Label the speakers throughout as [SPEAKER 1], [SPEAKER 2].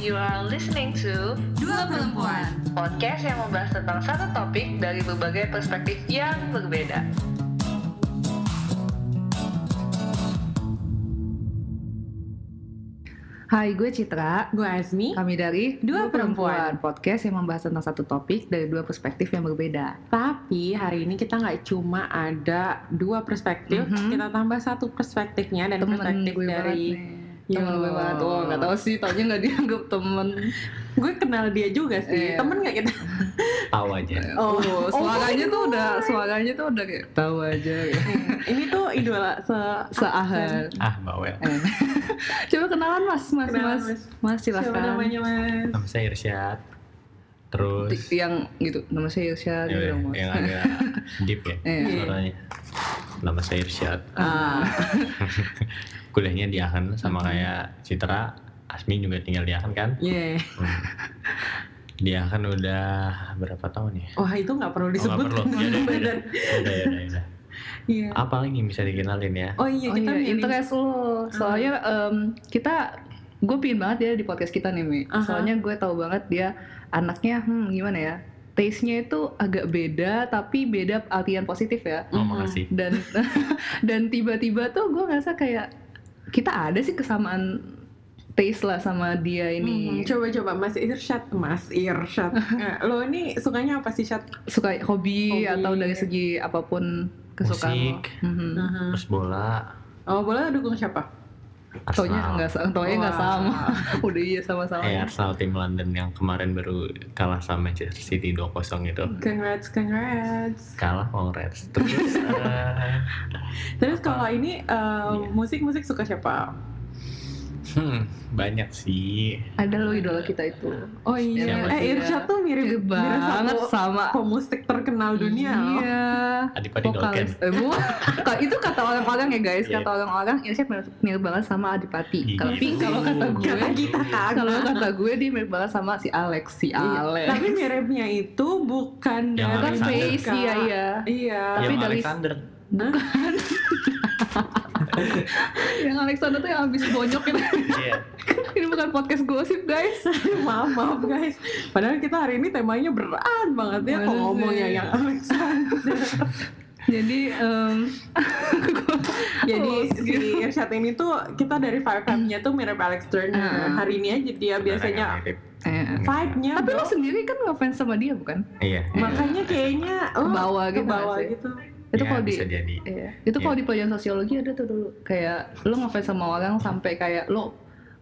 [SPEAKER 1] You are listening to
[SPEAKER 2] Dua perempuan.
[SPEAKER 1] podcast yang membahas tentang satu topik dari berbagai perspektif yang berbeda.
[SPEAKER 3] Hai, gue Citra.
[SPEAKER 2] Gue Azmi.
[SPEAKER 3] Kami dari
[SPEAKER 2] Dua Perempuan.
[SPEAKER 3] podcast yang membahas tentang satu topik dari dua perspektif yang berbeda.
[SPEAKER 2] Tapi hari ini kita nggak cuma ada dua perspektif,
[SPEAKER 3] Mhm.
[SPEAKER 2] kita tambah satu perspektifnya dan perspektif
[SPEAKER 3] gue
[SPEAKER 2] dari
[SPEAKER 3] banget nih. Temen
[SPEAKER 2] Yo.
[SPEAKER 3] gue banget. Oh, nggak tahu sih, taunya nggak dianggap temen.
[SPEAKER 2] gue kenal dia juga sih.
[SPEAKER 3] Iya.
[SPEAKER 2] Temen nggak kita?
[SPEAKER 4] tahu aja
[SPEAKER 2] Oh. Oh
[SPEAKER 3] suaranya
[SPEAKER 2] my
[SPEAKER 3] tuh
[SPEAKER 2] God.
[SPEAKER 3] udah, suaranya tuh udah kayak tahu aja.
[SPEAKER 2] ini tuh idola se
[SPEAKER 3] Seahal.
[SPEAKER 4] ah bawel
[SPEAKER 3] Eh. Coba kenalan mas, mas,
[SPEAKER 2] Kenalan,
[SPEAKER 3] mas,
[SPEAKER 2] Mas.
[SPEAKER 3] mas
[SPEAKER 2] Siapa
[SPEAKER 3] silakan.
[SPEAKER 2] namanya Mas?
[SPEAKER 4] nama saya Irsyad terus
[SPEAKER 3] Yang gitu, nama saya Irsyad. gitu
[SPEAKER 4] ya,
[SPEAKER 3] dong, Mas.
[SPEAKER 4] yang agak deep ya
[SPEAKER 3] Iya.
[SPEAKER 4] suaranya nama saya Irsyad
[SPEAKER 2] Ah,
[SPEAKER 4] kuliahnya di Aachen sama kayak Citra Asmi juga tinggal di Aachen kan
[SPEAKER 2] yeah.
[SPEAKER 4] di Aachen udah berapa tahun ya
[SPEAKER 2] Wah itu nggak perlu
[SPEAKER 4] nggak
[SPEAKER 2] disebut.
[SPEAKER 4] perlu. Ya udah, ya udah. udah ya udah, ya udah.
[SPEAKER 2] Iya.
[SPEAKER 4] apa lagi yang bisa dikenalin ya
[SPEAKER 2] Oh
[SPEAKER 3] Oh
[SPEAKER 2] iya kita Ah.
[SPEAKER 3] iya,
[SPEAKER 2] milih.
[SPEAKER 3] interest lo. Soalnya em, kita, gue pingin banget dia di podcast kita nih, Mi.
[SPEAKER 2] Aha.
[SPEAKER 3] Soalnya gue tahu banget dia anaknya, hmm, gimana ya? Taste-nya itu agak beda, tapi beda artian positif ya.
[SPEAKER 4] oh
[SPEAKER 2] Mhm.
[SPEAKER 4] makasih
[SPEAKER 3] Dan dan tiba-tiba tuh gue ngerasa kayak kita ada sih kesamaan taste lah sama dia
[SPEAKER 2] Hmm,
[SPEAKER 3] ini.
[SPEAKER 2] Coba-coba Mas Irsyad, Mas Irsyad. Eh, Lo ini sukanya apa sih, Syad?
[SPEAKER 3] Suka hobi,
[SPEAKER 2] Hobi.
[SPEAKER 3] atau dari segi apapun kesukaan lo.
[SPEAKER 4] musik
[SPEAKER 3] Mhm.
[SPEAKER 2] Mhm.
[SPEAKER 4] terus bola
[SPEAKER 2] Oh, boleh dukung siapa?
[SPEAKER 3] Taunya
[SPEAKER 4] Arsenal
[SPEAKER 3] nggak sa- taunya Oh, iya, nggak
[SPEAKER 2] Wah.
[SPEAKER 3] sama. Udah iya sama-sama.
[SPEAKER 4] Eh, Arsenal tim London yang kemarin baru kalah sama Manchester City 2-0 itu
[SPEAKER 3] Mm.
[SPEAKER 2] Congrats, congrats.
[SPEAKER 4] kalah Congrats terus eh,
[SPEAKER 2] Terus kalau ini eh,
[SPEAKER 4] Iya.
[SPEAKER 2] musik-musik suka siapa?
[SPEAKER 4] Hmm, banyak sih.
[SPEAKER 3] Ada lo idola kita itu.
[SPEAKER 2] Oh iya,
[SPEAKER 4] Siapa
[SPEAKER 2] eh
[SPEAKER 3] sih?
[SPEAKER 2] Irsyad tuh mirip
[SPEAKER 3] Mirip banget
[SPEAKER 2] mirip satu
[SPEAKER 3] sama
[SPEAKER 2] pemusik terkenal dunia loh.
[SPEAKER 3] Iya.
[SPEAKER 4] Adipati Dolken.
[SPEAKER 3] Vokalis. Eh, bu- Ka- itu kata orang-orang ya guys,
[SPEAKER 4] Iya.
[SPEAKER 3] kata orang-orang Irsyad mirip, mirip banget sama Adipati.
[SPEAKER 4] Iya,
[SPEAKER 3] Tapi
[SPEAKER 4] gitu.
[SPEAKER 3] kalau kata gue,
[SPEAKER 2] Kata kita kan. kagak.
[SPEAKER 3] kalau kata gue dia mirip banget sama si Alex, si
[SPEAKER 2] Iya,
[SPEAKER 3] Alex.
[SPEAKER 2] Tapi miripnya itu bukan
[SPEAKER 4] Yang
[SPEAKER 3] Kan
[SPEAKER 2] dari
[SPEAKER 4] Alexander.
[SPEAKER 3] face
[SPEAKER 2] Kak.
[SPEAKER 3] iya iya.
[SPEAKER 2] Iya. Nah,
[SPEAKER 3] Tapi
[SPEAKER 4] Yang
[SPEAKER 3] dari-
[SPEAKER 4] Alexander.
[SPEAKER 3] Iya, Yang Alexander tuh yang habis bonyok itu.
[SPEAKER 4] Iya.
[SPEAKER 3] Ini bukan podcast gosip guys.
[SPEAKER 2] maaf maaf guys. Padahal kita hari ini temanya berat banget ya kok
[SPEAKER 3] Bener sih.
[SPEAKER 2] ngomongnya yang Alexander.
[SPEAKER 3] Jadi em,
[SPEAKER 2] Jadi
[SPEAKER 3] Close
[SPEAKER 2] si Irsyad ini tuh kita dari vibe-nya tuh mirip Alex Turner.
[SPEAKER 3] Hmm.
[SPEAKER 2] Hari ini aja dia Ya, biasanya
[SPEAKER 4] Orang yang mirip. Hmm.
[SPEAKER 3] eh,
[SPEAKER 2] vibe-nya
[SPEAKER 3] tapi lo
[SPEAKER 2] dong.
[SPEAKER 3] sendiri kan ngefans sama dia bukan?
[SPEAKER 4] Iya.
[SPEAKER 2] makanya kayaknya oh,
[SPEAKER 3] Kebawa gitu nggak
[SPEAKER 2] kebawa
[SPEAKER 3] sih?
[SPEAKER 2] gitu.
[SPEAKER 3] Itu
[SPEAKER 4] Ya,
[SPEAKER 3] kalau di
[SPEAKER 4] bisa jadi.
[SPEAKER 3] Iya. Itu kalau di pelajaran sosiologi ada tuh dulu kayak lo ngefans sama orang sampai kayak lo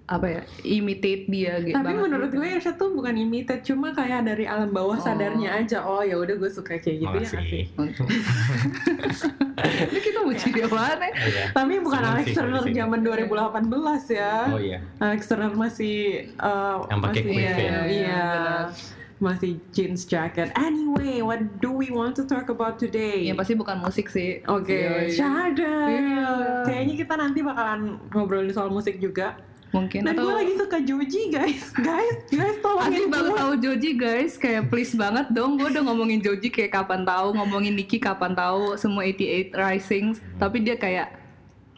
[SPEAKER 3] apa ya imitate dia gitu.
[SPEAKER 2] Tapi
[SPEAKER 3] banget.
[SPEAKER 2] menurut gue Irsyad tuh bukan imitate, cuma kayak dari alam bawah
[SPEAKER 3] Oh.
[SPEAKER 2] sadarnya aja. Oh ya udah gue suka kayak gitu ya.
[SPEAKER 4] Makasih.
[SPEAKER 2] asik.
[SPEAKER 3] Ini kita uji dia mana?
[SPEAKER 4] Iya.
[SPEAKER 2] Tapi bukan
[SPEAKER 4] Seneng
[SPEAKER 2] Alex
[SPEAKER 4] sih,
[SPEAKER 2] Turner
[SPEAKER 4] seneng sih.
[SPEAKER 2] zaman 2018 ya.
[SPEAKER 4] Oh iya.
[SPEAKER 2] Alex Turner masih eh,
[SPEAKER 4] Yang pakai
[SPEAKER 2] masih-
[SPEAKER 4] quiff ya.
[SPEAKER 2] iya, iya. masih jeans jacket. Anyway, what do we want to talk about today?
[SPEAKER 3] Ya pasti bukan musik sih.
[SPEAKER 2] Iya.
[SPEAKER 3] Iya,
[SPEAKER 2] Oke,
[SPEAKER 3] Yoi.
[SPEAKER 2] Syahada.
[SPEAKER 3] Iya.
[SPEAKER 2] Kayaknya kita nanti bakalan ngobrolin soal musik juga.
[SPEAKER 3] Mungkin
[SPEAKER 2] Dan
[SPEAKER 3] atau
[SPEAKER 2] gue lagi suka Joji, guys. Guys, guys
[SPEAKER 3] Asli
[SPEAKER 2] tolongin
[SPEAKER 3] baru
[SPEAKER 2] gue.
[SPEAKER 3] tahu Joji guys, kayak please banget dong, gue udah ngomongin Joji kayak kapan tahu, ngomongin Niki kapan tahu, semua 88 Rising, tapi dia kayak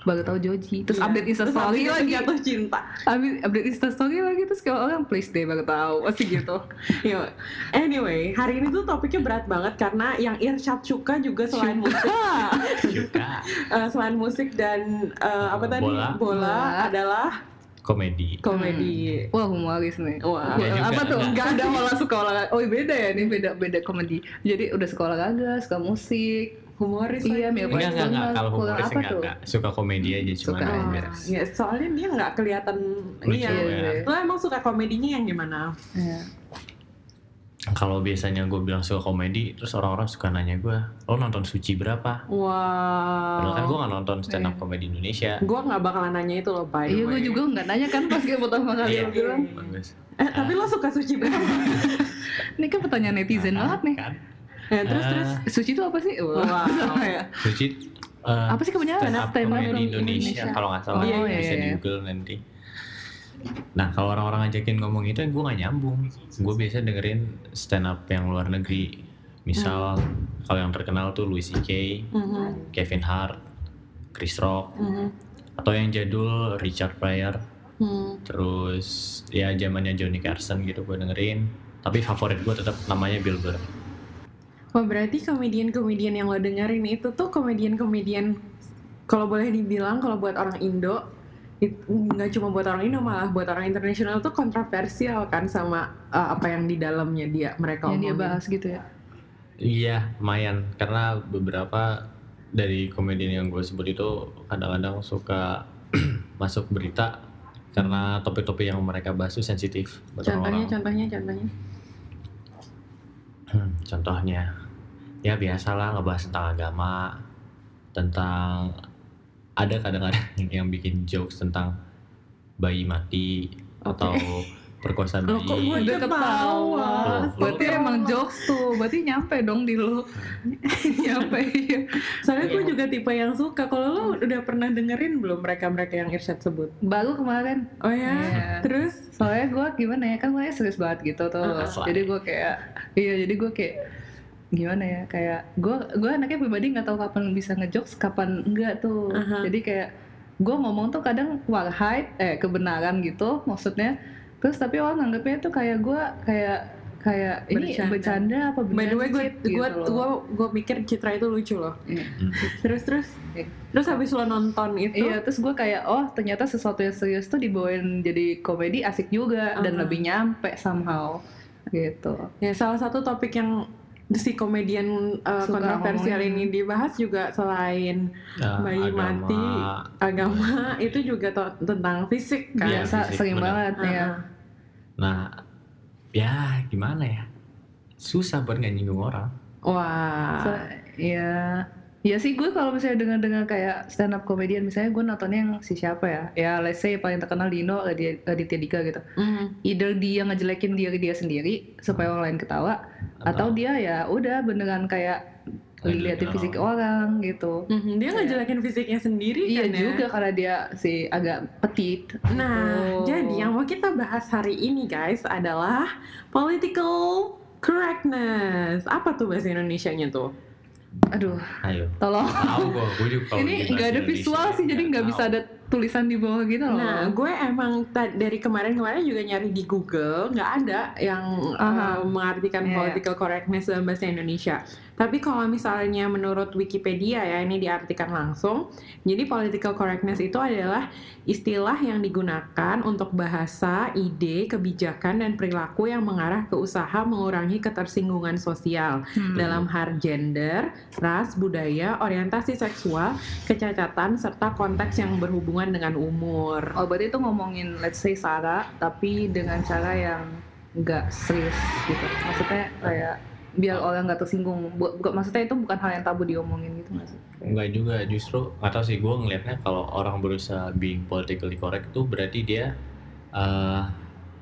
[SPEAKER 3] baru tahu Joji, terus
[SPEAKER 2] Iya.
[SPEAKER 3] update instastory
[SPEAKER 2] Terus update
[SPEAKER 3] lagi,
[SPEAKER 2] Jatuh cinta.
[SPEAKER 3] update, update instastory lagi, terus kayak orang please deh baru tahu, pasti gitu.
[SPEAKER 2] Yo. Iya. Anyway, hari ini tuh topiknya berat banget karena yang Irsyad suka juga selain musik,
[SPEAKER 4] Juga
[SPEAKER 2] eh, selain musik dan eh, apa tadi
[SPEAKER 4] Bola.
[SPEAKER 3] Bola. Hmm.
[SPEAKER 2] adalah
[SPEAKER 4] komedi.
[SPEAKER 2] komedi.
[SPEAKER 3] Wah humoris nih.
[SPEAKER 2] Wah.
[SPEAKER 4] Iya juga,
[SPEAKER 3] apa tuh?
[SPEAKER 4] enggak.
[SPEAKER 3] Enggak ada malah suka olahraga. Oh beda ya ini beda beda komedi. Jadi udah suka olahraga, suka musik.
[SPEAKER 2] Humoris.
[SPEAKER 3] Iya,
[SPEAKER 2] lagi.
[SPEAKER 3] Mia
[SPEAKER 4] Enggak enggak enggak kalau
[SPEAKER 3] Kurang
[SPEAKER 4] humoris
[SPEAKER 3] apa
[SPEAKER 4] enggak
[SPEAKER 3] tuh?
[SPEAKER 4] enggak. Suka komedi aja cuma
[SPEAKER 3] Suka.
[SPEAKER 4] enggak
[SPEAKER 2] Oh,
[SPEAKER 4] beres.
[SPEAKER 2] iya, soalnya dia nggak kelihatan
[SPEAKER 4] Lucu,
[SPEAKER 2] iya.
[SPEAKER 4] ya.
[SPEAKER 2] Lo emang suka komedinya yang gimana?
[SPEAKER 3] Iya.
[SPEAKER 4] Kalau biasanya gue bilang suka komedi, terus orang-orang suka nanya gue, lo nonton Suci berapa? Padahal kan gue
[SPEAKER 2] Wow.
[SPEAKER 4] gak nonton stand
[SPEAKER 3] Oh,
[SPEAKER 4] up komedi Indonesia.
[SPEAKER 2] Gue nggak bakalan nanya itu loh, by the
[SPEAKER 3] Iya, gue
[SPEAKER 2] way.
[SPEAKER 3] juga nggak nanya kan pas kayak pertama kali
[SPEAKER 4] Iya.
[SPEAKER 3] lo bilang.
[SPEAKER 4] Bagus.
[SPEAKER 2] Eh, tapi lo suka suci berapa?
[SPEAKER 3] Ini kan pertanyaan netizen
[SPEAKER 4] Nah,
[SPEAKER 3] banget nih. Nah,
[SPEAKER 4] kan?
[SPEAKER 2] Eh, terus
[SPEAKER 4] Ah,
[SPEAKER 2] terus.
[SPEAKER 3] Suci itu apa sih? Wah.
[SPEAKER 2] Wow.
[SPEAKER 4] Suci eh,
[SPEAKER 3] Apa sih kebenaran?
[SPEAKER 4] stand up comedy
[SPEAKER 3] comedy
[SPEAKER 4] Indonesia, kalau nggak salah
[SPEAKER 3] Oh, iya, iya,
[SPEAKER 4] bisa di
[SPEAKER 3] iya.
[SPEAKER 4] Google nanti. Nah kalau orang-orang ngajakin ngomong itu gue nggak nyambung. Gue biasa dengerin stand up yang luar negeri. Misal
[SPEAKER 3] Hmm.
[SPEAKER 4] kalau yang terkenal tuh Louis C.K.,
[SPEAKER 2] Mhm,
[SPEAKER 4] Kevin Hart, Chris Rock,
[SPEAKER 2] mhm.
[SPEAKER 3] Hmm.
[SPEAKER 4] atau yang jadul Richard Pryor.
[SPEAKER 2] Hmm.
[SPEAKER 4] Terus ya zamannya Johnny Carson gitu gue dengerin. Tapi favorit gue tetap namanya Bill Burr.
[SPEAKER 2] Wah berarti komedian-komedian yang lo dengerin itu tuh komedian-komedian kalau boleh dibilang kalau buat orang Indo it- nggak cuma buat orang Indo malah buat orang internasional tuh kontroversial kan sama uh, apa yang di dalamnya dia mereka
[SPEAKER 3] yang dia
[SPEAKER 2] omongin.
[SPEAKER 3] bahas gitu ya.
[SPEAKER 4] Iya, lumayan. Karena beberapa dari komedian yang gue sebut itu kadang-kadang suka masuk berita karena topik-topik yang mereka bahas itu sensitif. buat
[SPEAKER 2] Contohnya,
[SPEAKER 4] orang-orang.
[SPEAKER 2] contohnya, contohnya.
[SPEAKER 4] Hmm, contohnya ya biasalah ngebahas tentang agama tentang ada kadang-kadang yang bikin jokes tentang bayi mati atau perkosaan
[SPEAKER 2] Loh, kok
[SPEAKER 4] bayi
[SPEAKER 2] gua- Udah ketawa.
[SPEAKER 3] Berarti
[SPEAKER 2] Ketawa.
[SPEAKER 3] emang jokes tuh. Berarti nyampe dong di lo. nyampe iya.
[SPEAKER 2] Soalnya gue juga tipe yang suka. Kalau lo udah pernah dengerin belum mereka-mereka yang Irsyad sebut?
[SPEAKER 3] Baru kemarin.
[SPEAKER 2] Oh ya?
[SPEAKER 3] Iya.
[SPEAKER 2] Terus?
[SPEAKER 3] Soalnya gue gimana ya kan gue serius banget gitu tuh.
[SPEAKER 2] Heeh.
[SPEAKER 3] Jadi gue kayak iya jadi gue kayak gimana ya kayak gue gue anaknya pribadi nggak tahu kapan bisa ngejokes kapan enggak tuh.
[SPEAKER 2] Aha.
[SPEAKER 3] Jadi kayak gue ngomong tuh kadang warhaid eh kebenaran gitu maksudnya. Terus tapi orang nganggapnya tuh kayak gue kayak kayak ini
[SPEAKER 2] Bercanda.
[SPEAKER 3] bercanda, apa
[SPEAKER 2] By the way, gue
[SPEAKER 3] beneran shit
[SPEAKER 2] gue
[SPEAKER 3] gitu loh.
[SPEAKER 2] gue gue mikir Citra itu lucu loh.
[SPEAKER 3] Iya.
[SPEAKER 2] Terus terus
[SPEAKER 3] Iya.
[SPEAKER 2] terus habis lo nonton itu
[SPEAKER 3] Iya, terus gue kayak oh ternyata sesuatu yang serius tuh dibawain jadi komedi asik juga dan
[SPEAKER 2] Uh-huh.
[SPEAKER 3] lebih nyampe somehow gitu.
[SPEAKER 2] Ya, salah satu topik yang si komedian uh,
[SPEAKER 3] Suka
[SPEAKER 2] kontroversial ini
[SPEAKER 3] ngomongin.
[SPEAKER 2] dibahas juga selain
[SPEAKER 4] eh,
[SPEAKER 2] bayi
[SPEAKER 4] agama
[SPEAKER 2] mati agama itu juga to- tentang fisik
[SPEAKER 4] Iya,
[SPEAKER 2] kan.
[SPEAKER 3] Kayak sa-
[SPEAKER 4] fisik,
[SPEAKER 3] sering
[SPEAKER 4] bener.
[SPEAKER 3] banget ya.
[SPEAKER 2] Heeh.
[SPEAKER 4] nah ya gimana ya susah buat nggak nyinggung orang
[SPEAKER 2] Wah.
[SPEAKER 3] So, Iya. Ya sih gue kalau misalnya dengar-dengar kayak stand up comedian misalnya gue nontonnya yang si siapa ya? Ya let's say paling terkenal Dino Raditya Raditya Dika gitu.
[SPEAKER 2] Mm.
[SPEAKER 3] Either dia ngejelekin diri dia sendiri supaya
[SPEAKER 4] Hmm.
[SPEAKER 3] orang lain ketawa atau, dia ya udah beneran kayak
[SPEAKER 4] Ngejelekin
[SPEAKER 3] diliatin
[SPEAKER 4] orang.
[SPEAKER 3] fisik orang gitu.
[SPEAKER 2] Mhm, Dia
[SPEAKER 3] Iya.
[SPEAKER 2] ngejelekin fisiknya sendiri
[SPEAKER 3] Iya
[SPEAKER 2] kan ya?
[SPEAKER 3] juga karena dia si agak petit.
[SPEAKER 2] Nah,
[SPEAKER 3] gitu.
[SPEAKER 2] jadi yang mau kita bahas hari ini guys adalah political correctness. Apa tuh bahasa Indonesianya tuh?
[SPEAKER 3] aduh,
[SPEAKER 4] ayo
[SPEAKER 3] tolong.
[SPEAKER 4] tahu gue gue juga kalau
[SPEAKER 3] Ini nggak
[SPEAKER 4] dibahas
[SPEAKER 3] ada
[SPEAKER 4] Indonesia, ya,
[SPEAKER 3] visual sih, jadi nggak bisa
[SPEAKER 4] tahu.
[SPEAKER 3] ada tulisan di bawah gitu loh.
[SPEAKER 2] Nah, gue emang ta- dari kemarin-kemarin juga nyari di Google, nggak ada yang
[SPEAKER 3] Aha.
[SPEAKER 2] uh, mengartikan
[SPEAKER 3] Iya,
[SPEAKER 2] political correctness dalam bahasa Indonesia. Tapi kalau misalnya menurut Wikipedia ya, ini diartikan langsung. Jadi political correctness itu adalah istilah yang digunakan untuk bahasa, ide, kebijakan, dan perilaku yang mengarah ke usaha mengurangi ketersinggungan sosial
[SPEAKER 3] Hmm.
[SPEAKER 2] dalam hal gender, ras, budaya, orientasi seksual, kecacatan, serta konteks yang berhubungan dengan umur.
[SPEAKER 3] Oh berarti itu ngomongin let's say Sarah tapi dengan cara yang nggak serius gitu. Maksudnya kayak biar orang nggak tersinggung. Bu- bukan- maksudnya itu bukan hal yang tabu diomongin gitu nggak sih?
[SPEAKER 4] Enggak juga, justru atau sih gue ngelihatnya kalau orang berusaha being politically correct tuh berarti dia eh,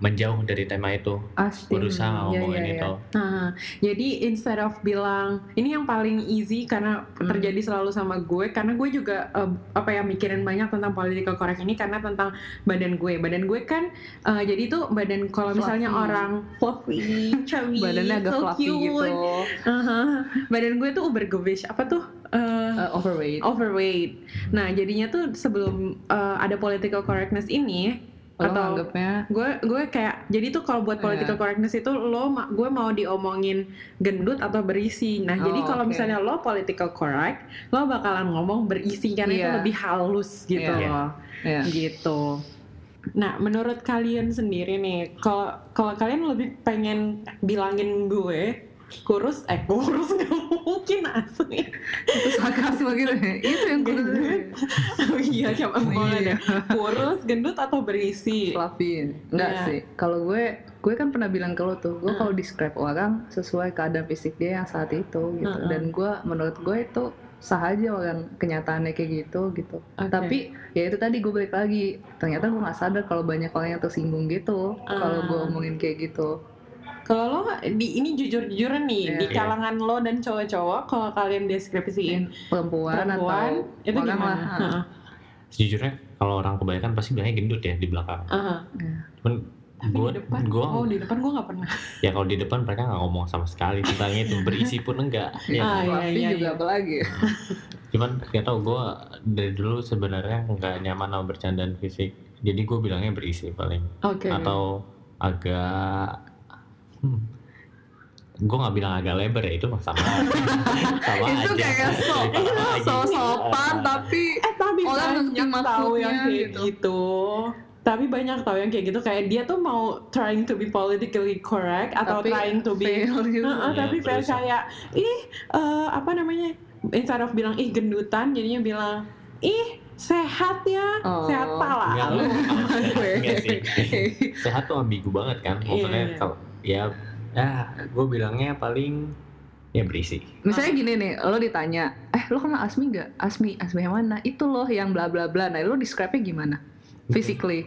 [SPEAKER 4] menjauh dari tema itu,
[SPEAKER 3] Asli.
[SPEAKER 4] berusaha nggak ngomongin
[SPEAKER 3] iya.
[SPEAKER 4] itu.
[SPEAKER 2] Nah, jadi instead of bilang ini yang paling easy karena
[SPEAKER 3] Hmm.
[SPEAKER 2] terjadi selalu sama gue, karena gue juga eh, apa ya mikirin banyak tentang political correct ini karena tentang badan gue. Badan gue kan eh, jadi itu badan kalau misalnya
[SPEAKER 3] Fluffy.
[SPEAKER 2] orang fluffy, chubby,
[SPEAKER 3] Badannya agak
[SPEAKER 2] so
[SPEAKER 3] fluffy
[SPEAKER 2] cute.
[SPEAKER 3] gitu.
[SPEAKER 2] Aha. Badan gue tuh ubergewicht apa tuh? Eh,
[SPEAKER 3] Eh, overweight.
[SPEAKER 2] overweight. Nah, jadinya tuh sebelum uh, ada political correctness ini
[SPEAKER 3] Orang
[SPEAKER 2] atau
[SPEAKER 3] anggapnya
[SPEAKER 2] gue gue kayak jadi tuh kalau
[SPEAKER 3] Iya.
[SPEAKER 2] buat political correctness itu lo ma- gue mau diomongin gendut atau berisi. Nah, jadi
[SPEAKER 3] Oh,
[SPEAKER 2] kalau
[SPEAKER 3] oke.
[SPEAKER 2] misalnya lo political correct, lo bakalan ngomong berisi karena itu
[SPEAKER 3] Iya.
[SPEAKER 2] lebih halus gitu
[SPEAKER 3] Iya.
[SPEAKER 2] loh.
[SPEAKER 3] ya.
[SPEAKER 2] Gitu. Nah, menurut kalian sendiri nih, kalau kalau kalian lebih pengen bilangin gue kurus eh kurus nggak mungkin asli.
[SPEAKER 3] terus agak gitu. Itu yang kudu
[SPEAKER 2] Oh iya, siapa mau ada?
[SPEAKER 3] Iya.
[SPEAKER 2] kurus, gendut atau berisi?
[SPEAKER 3] Fluffy. Enggak
[SPEAKER 2] Iya. Hmm.
[SPEAKER 3] sih. Kalau gue gue kan pernah bilang ke lo tuh, gue kalau describe orang sesuai keadaan fisik dia yang saat itu gitu.
[SPEAKER 2] Mm-mm.
[SPEAKER 3] Dan gue menurut gue itu sah aja orang kenyataannya kayak gitu gitu.
[SPEAKER 2] Oke.
[SPEAKER 3] Tapi ya itu tadi gue balik lagi. Ternyata gue nggak sadar kalau banyak orang yang tersinggung gitu kalau gue
[SPEAKER 2] Ah.
[SPEAKER 3] omongin kayak gitu.
[SPEAKER 2] Kalau lo di ini jujur-jujuran nih
[SPEAKER 3] Iya.
[SPEAKER 2] di kalangan lo dan cowok-cowok kalau kalian deskripsiin
[SPEAKER 3] Perempuan,
[SPEAKER 2] Iya. perempuan
[SPEAKER 3] atau
[SPEAKER 2] itu
[SPEAKER 3] orang
[SPEAKER 2] gimana?
[SPEAKER 3] lah.
[SPEAKER 2] Heeh.
[SPEAKER 4] Sejujurnya kalau orang kebanyakan pasti bilangnya gendut ya di belakang.
[SPEAKER 2] Heeh.
[SPEAKER 4] Cuman
[SPEAKER 2] Tapi
[SPEAKER 4] gue
[SPEAKER 2] di depan,
[SPEAKER 4] gue
[SPEAKER 2] oh di depan gue nggak pernah.
[SPEAKER 4] ya kalau di depan mereka nggak ngomong sama sekali tentang itu berisi pun enggak.
[SPEAKER 2] Ah,
[SPEAKER 4] Ya.
[SPEAKER 2] iya,
[SPEAKER 3] Fluffy
[SPEAKER 2] iya,
[SPEAKER 3] juga
[SPEAKER 2] iya.
[SPEAKER 3] apalagi.
[SPEAKER 4] Cuman nggak tau gue dari dulu sebenarnya nggak nyaman sama bercandaan fisik. jadi gue bilangnya berisi paling
[SPEAKER 2] Oke.
[SPEAKER 4] atau agak hmm, gue nggak bilang agak lebar ya itu mah sama sama
[SPEAKER 3] itu
[SPEAKER 4] aja
[SPEAKER 3] kayak so,
[SPEAKER 4] Sama aja. Ah.
[SPEAKER 3] so sopan tapi
[SPEAKER 2] eh tapi
[SPEAKER 3] Orang
[SPEAKER 2] banyak
[SPEAKER 3] ngerti
[SPEAKER 2] tahu
[SPEAKER 3] maksudnya
[SPEAKER 2] yang kayak
[SPEAKER 3] gitu.
[SPEAKER 2] gitu. Tapi banyak tahu yang kayak gitu kayak dia tuh mau trying to be politically correct atau
[SPEAKER 3] tapi
[SPEAKER 2] trying to be
[SPEAKER 3] fail gitu.
[SPEAKER 2] Heeh,
[SPEAKER 4] Iya,
[SPEAKER 2] tapi fail
[SPEAKER 4] berusaha.
[SPEAKER 2] kayak ih eh, apa namanya instead of bilang ih gendutan jadinya bilang ih sehat ya
[SPEAKER 3] Oh.
[SPEAKER 2] sehat pala
[SPEAKER 4] Enggak lah. Enggak sih.
[SPEAKER 3] Oke.
[SPEAKER 4] sehat tuh ambigu banget kan maksudnya
[SPEAKER 2] Iya.
[SPEAKER 4] kalau ya ya gue bilangnya paling ya berisi
[SPEAKER 3] Misalnya gini nih, lo ditanya, eh lo kenal Asmi gak? Asmi, Asmi yang mana? Itu loh yang bla bla bla. Nah lo describe-nya gimana? Physically.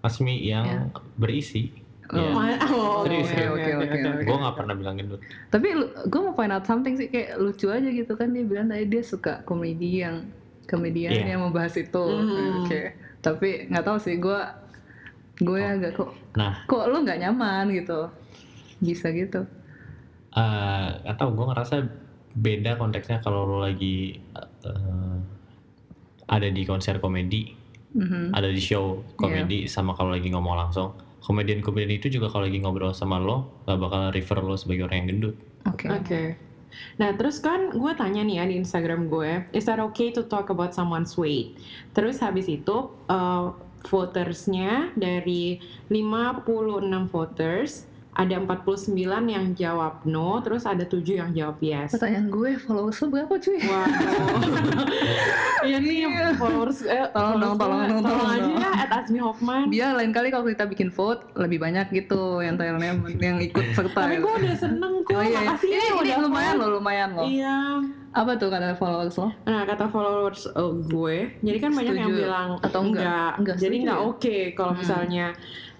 [SPEAKER 4] Asmi yang
[SPEAKER 3] Iya.
[SPEAKER 4] berisi Iya.
[SPEAKER 3] Oh.
[SPEAKER 2] Oh,
[SPEAKER 4] Serius,
[SPEAKER 2] oke,
[SPEAKER 4] serius.
[SPEAKER 2] oke, oke, oke.
[SPEAKER 4] gue nggak pernah bilang gendut
[SPEAKER 3] Tapi gue mau point out something sih, kayak lucu aja gitu kan. Dia bilang tadi dia suka komedi yang, komedian
[SPEAKER 4] Iya.
[SPEAKER 3] yang membahas itu.
[SPEAKER 2] Hmm.
[SPEAKER 3] Oke. Tapi gak tahu sih, gue, gue
[SPEAKER 4] Oh.
[SPEAKER 3] agak kok,
[SPEAKER 4] Nah.
[SPEAKER 3] kok lo gak nyaman gitu. Bisa gitu.
[SPEAKER 4] Eh, atau gue ngerasa beda konteksnya kalau lo lagi eh, ada di konser komedi
[SPEAKER 3] Mhm.
[SPEAKER 4] ada di show komedi sama kalau lagi ngomong langsung komedian-komedian itu juga kalau lagi ngobrol sama lo gak bakal refer lo sebagai orang yang gendut
[SPEAKER 3] Oke.
[SPEAKER 2] Oke. Nah, terus kan gue tanya nih ya di Instagram gue, is that okay to talk about someone's weight? Terus habis itu uh, votersnya dari 56 voters, ada 49 yang jawab no, terus ada 7 yang jawab yes.
[SPEAKER 3] Pertanyaan gue, followers lo berapa cuy?
[SPEAKER 2] Wow. Iya nih followers eh,
[SPEAKER 3] Tolong dong,
[SPEAKER 2] followers
[SPEAKER 3] tolong
[SPEAKER 2] gue.
[SPEAKER 3] dong, tolong
[SPEAKER 2] aja
[SPEAKER 3] dong.
[SPEAKER 2] ya at Azmi Hoffman.
[SPEAKER 3] Dia lain kali kalau kita bikin vote lebih banyak gitu yang Thailandnya yang ikut serta.
[SPEAKER 2] Tapi gue udah seneng kok,
[SPEAKER 3] ya. Oh iya,
[SPEAKER 2] makasih
[SPEAKER 3] ini,
[SPEAKER 2] ya
[SPEAKER 3] ini
[SPEAKER 2] udah
[SPEAKER 3] lumayan
[SPEAKER 2] vote.
[SPEAKER 3] loh, lumayan loh.
[SPEAKER 2] Iya.
[SPEAKER 3] Apa tuh kata followers lo?
[SPEAKER 2] Nah kata followers eh, gue, jadi kan banyak yang
[SPEAKER 3] Setuju
[SPEAKER 2] bilang
[SPEAKER 3] atau enggak? Enggak
[SPEAKER 2] jadi
[SPEAKER 3] setuju
[SPEAKER 2] nggak
[SPEAKER 3] ya?
[SPEAKER 2] oke kalau
[SPEAKER 3] Hmm.
[SPEAKER 2] misalnya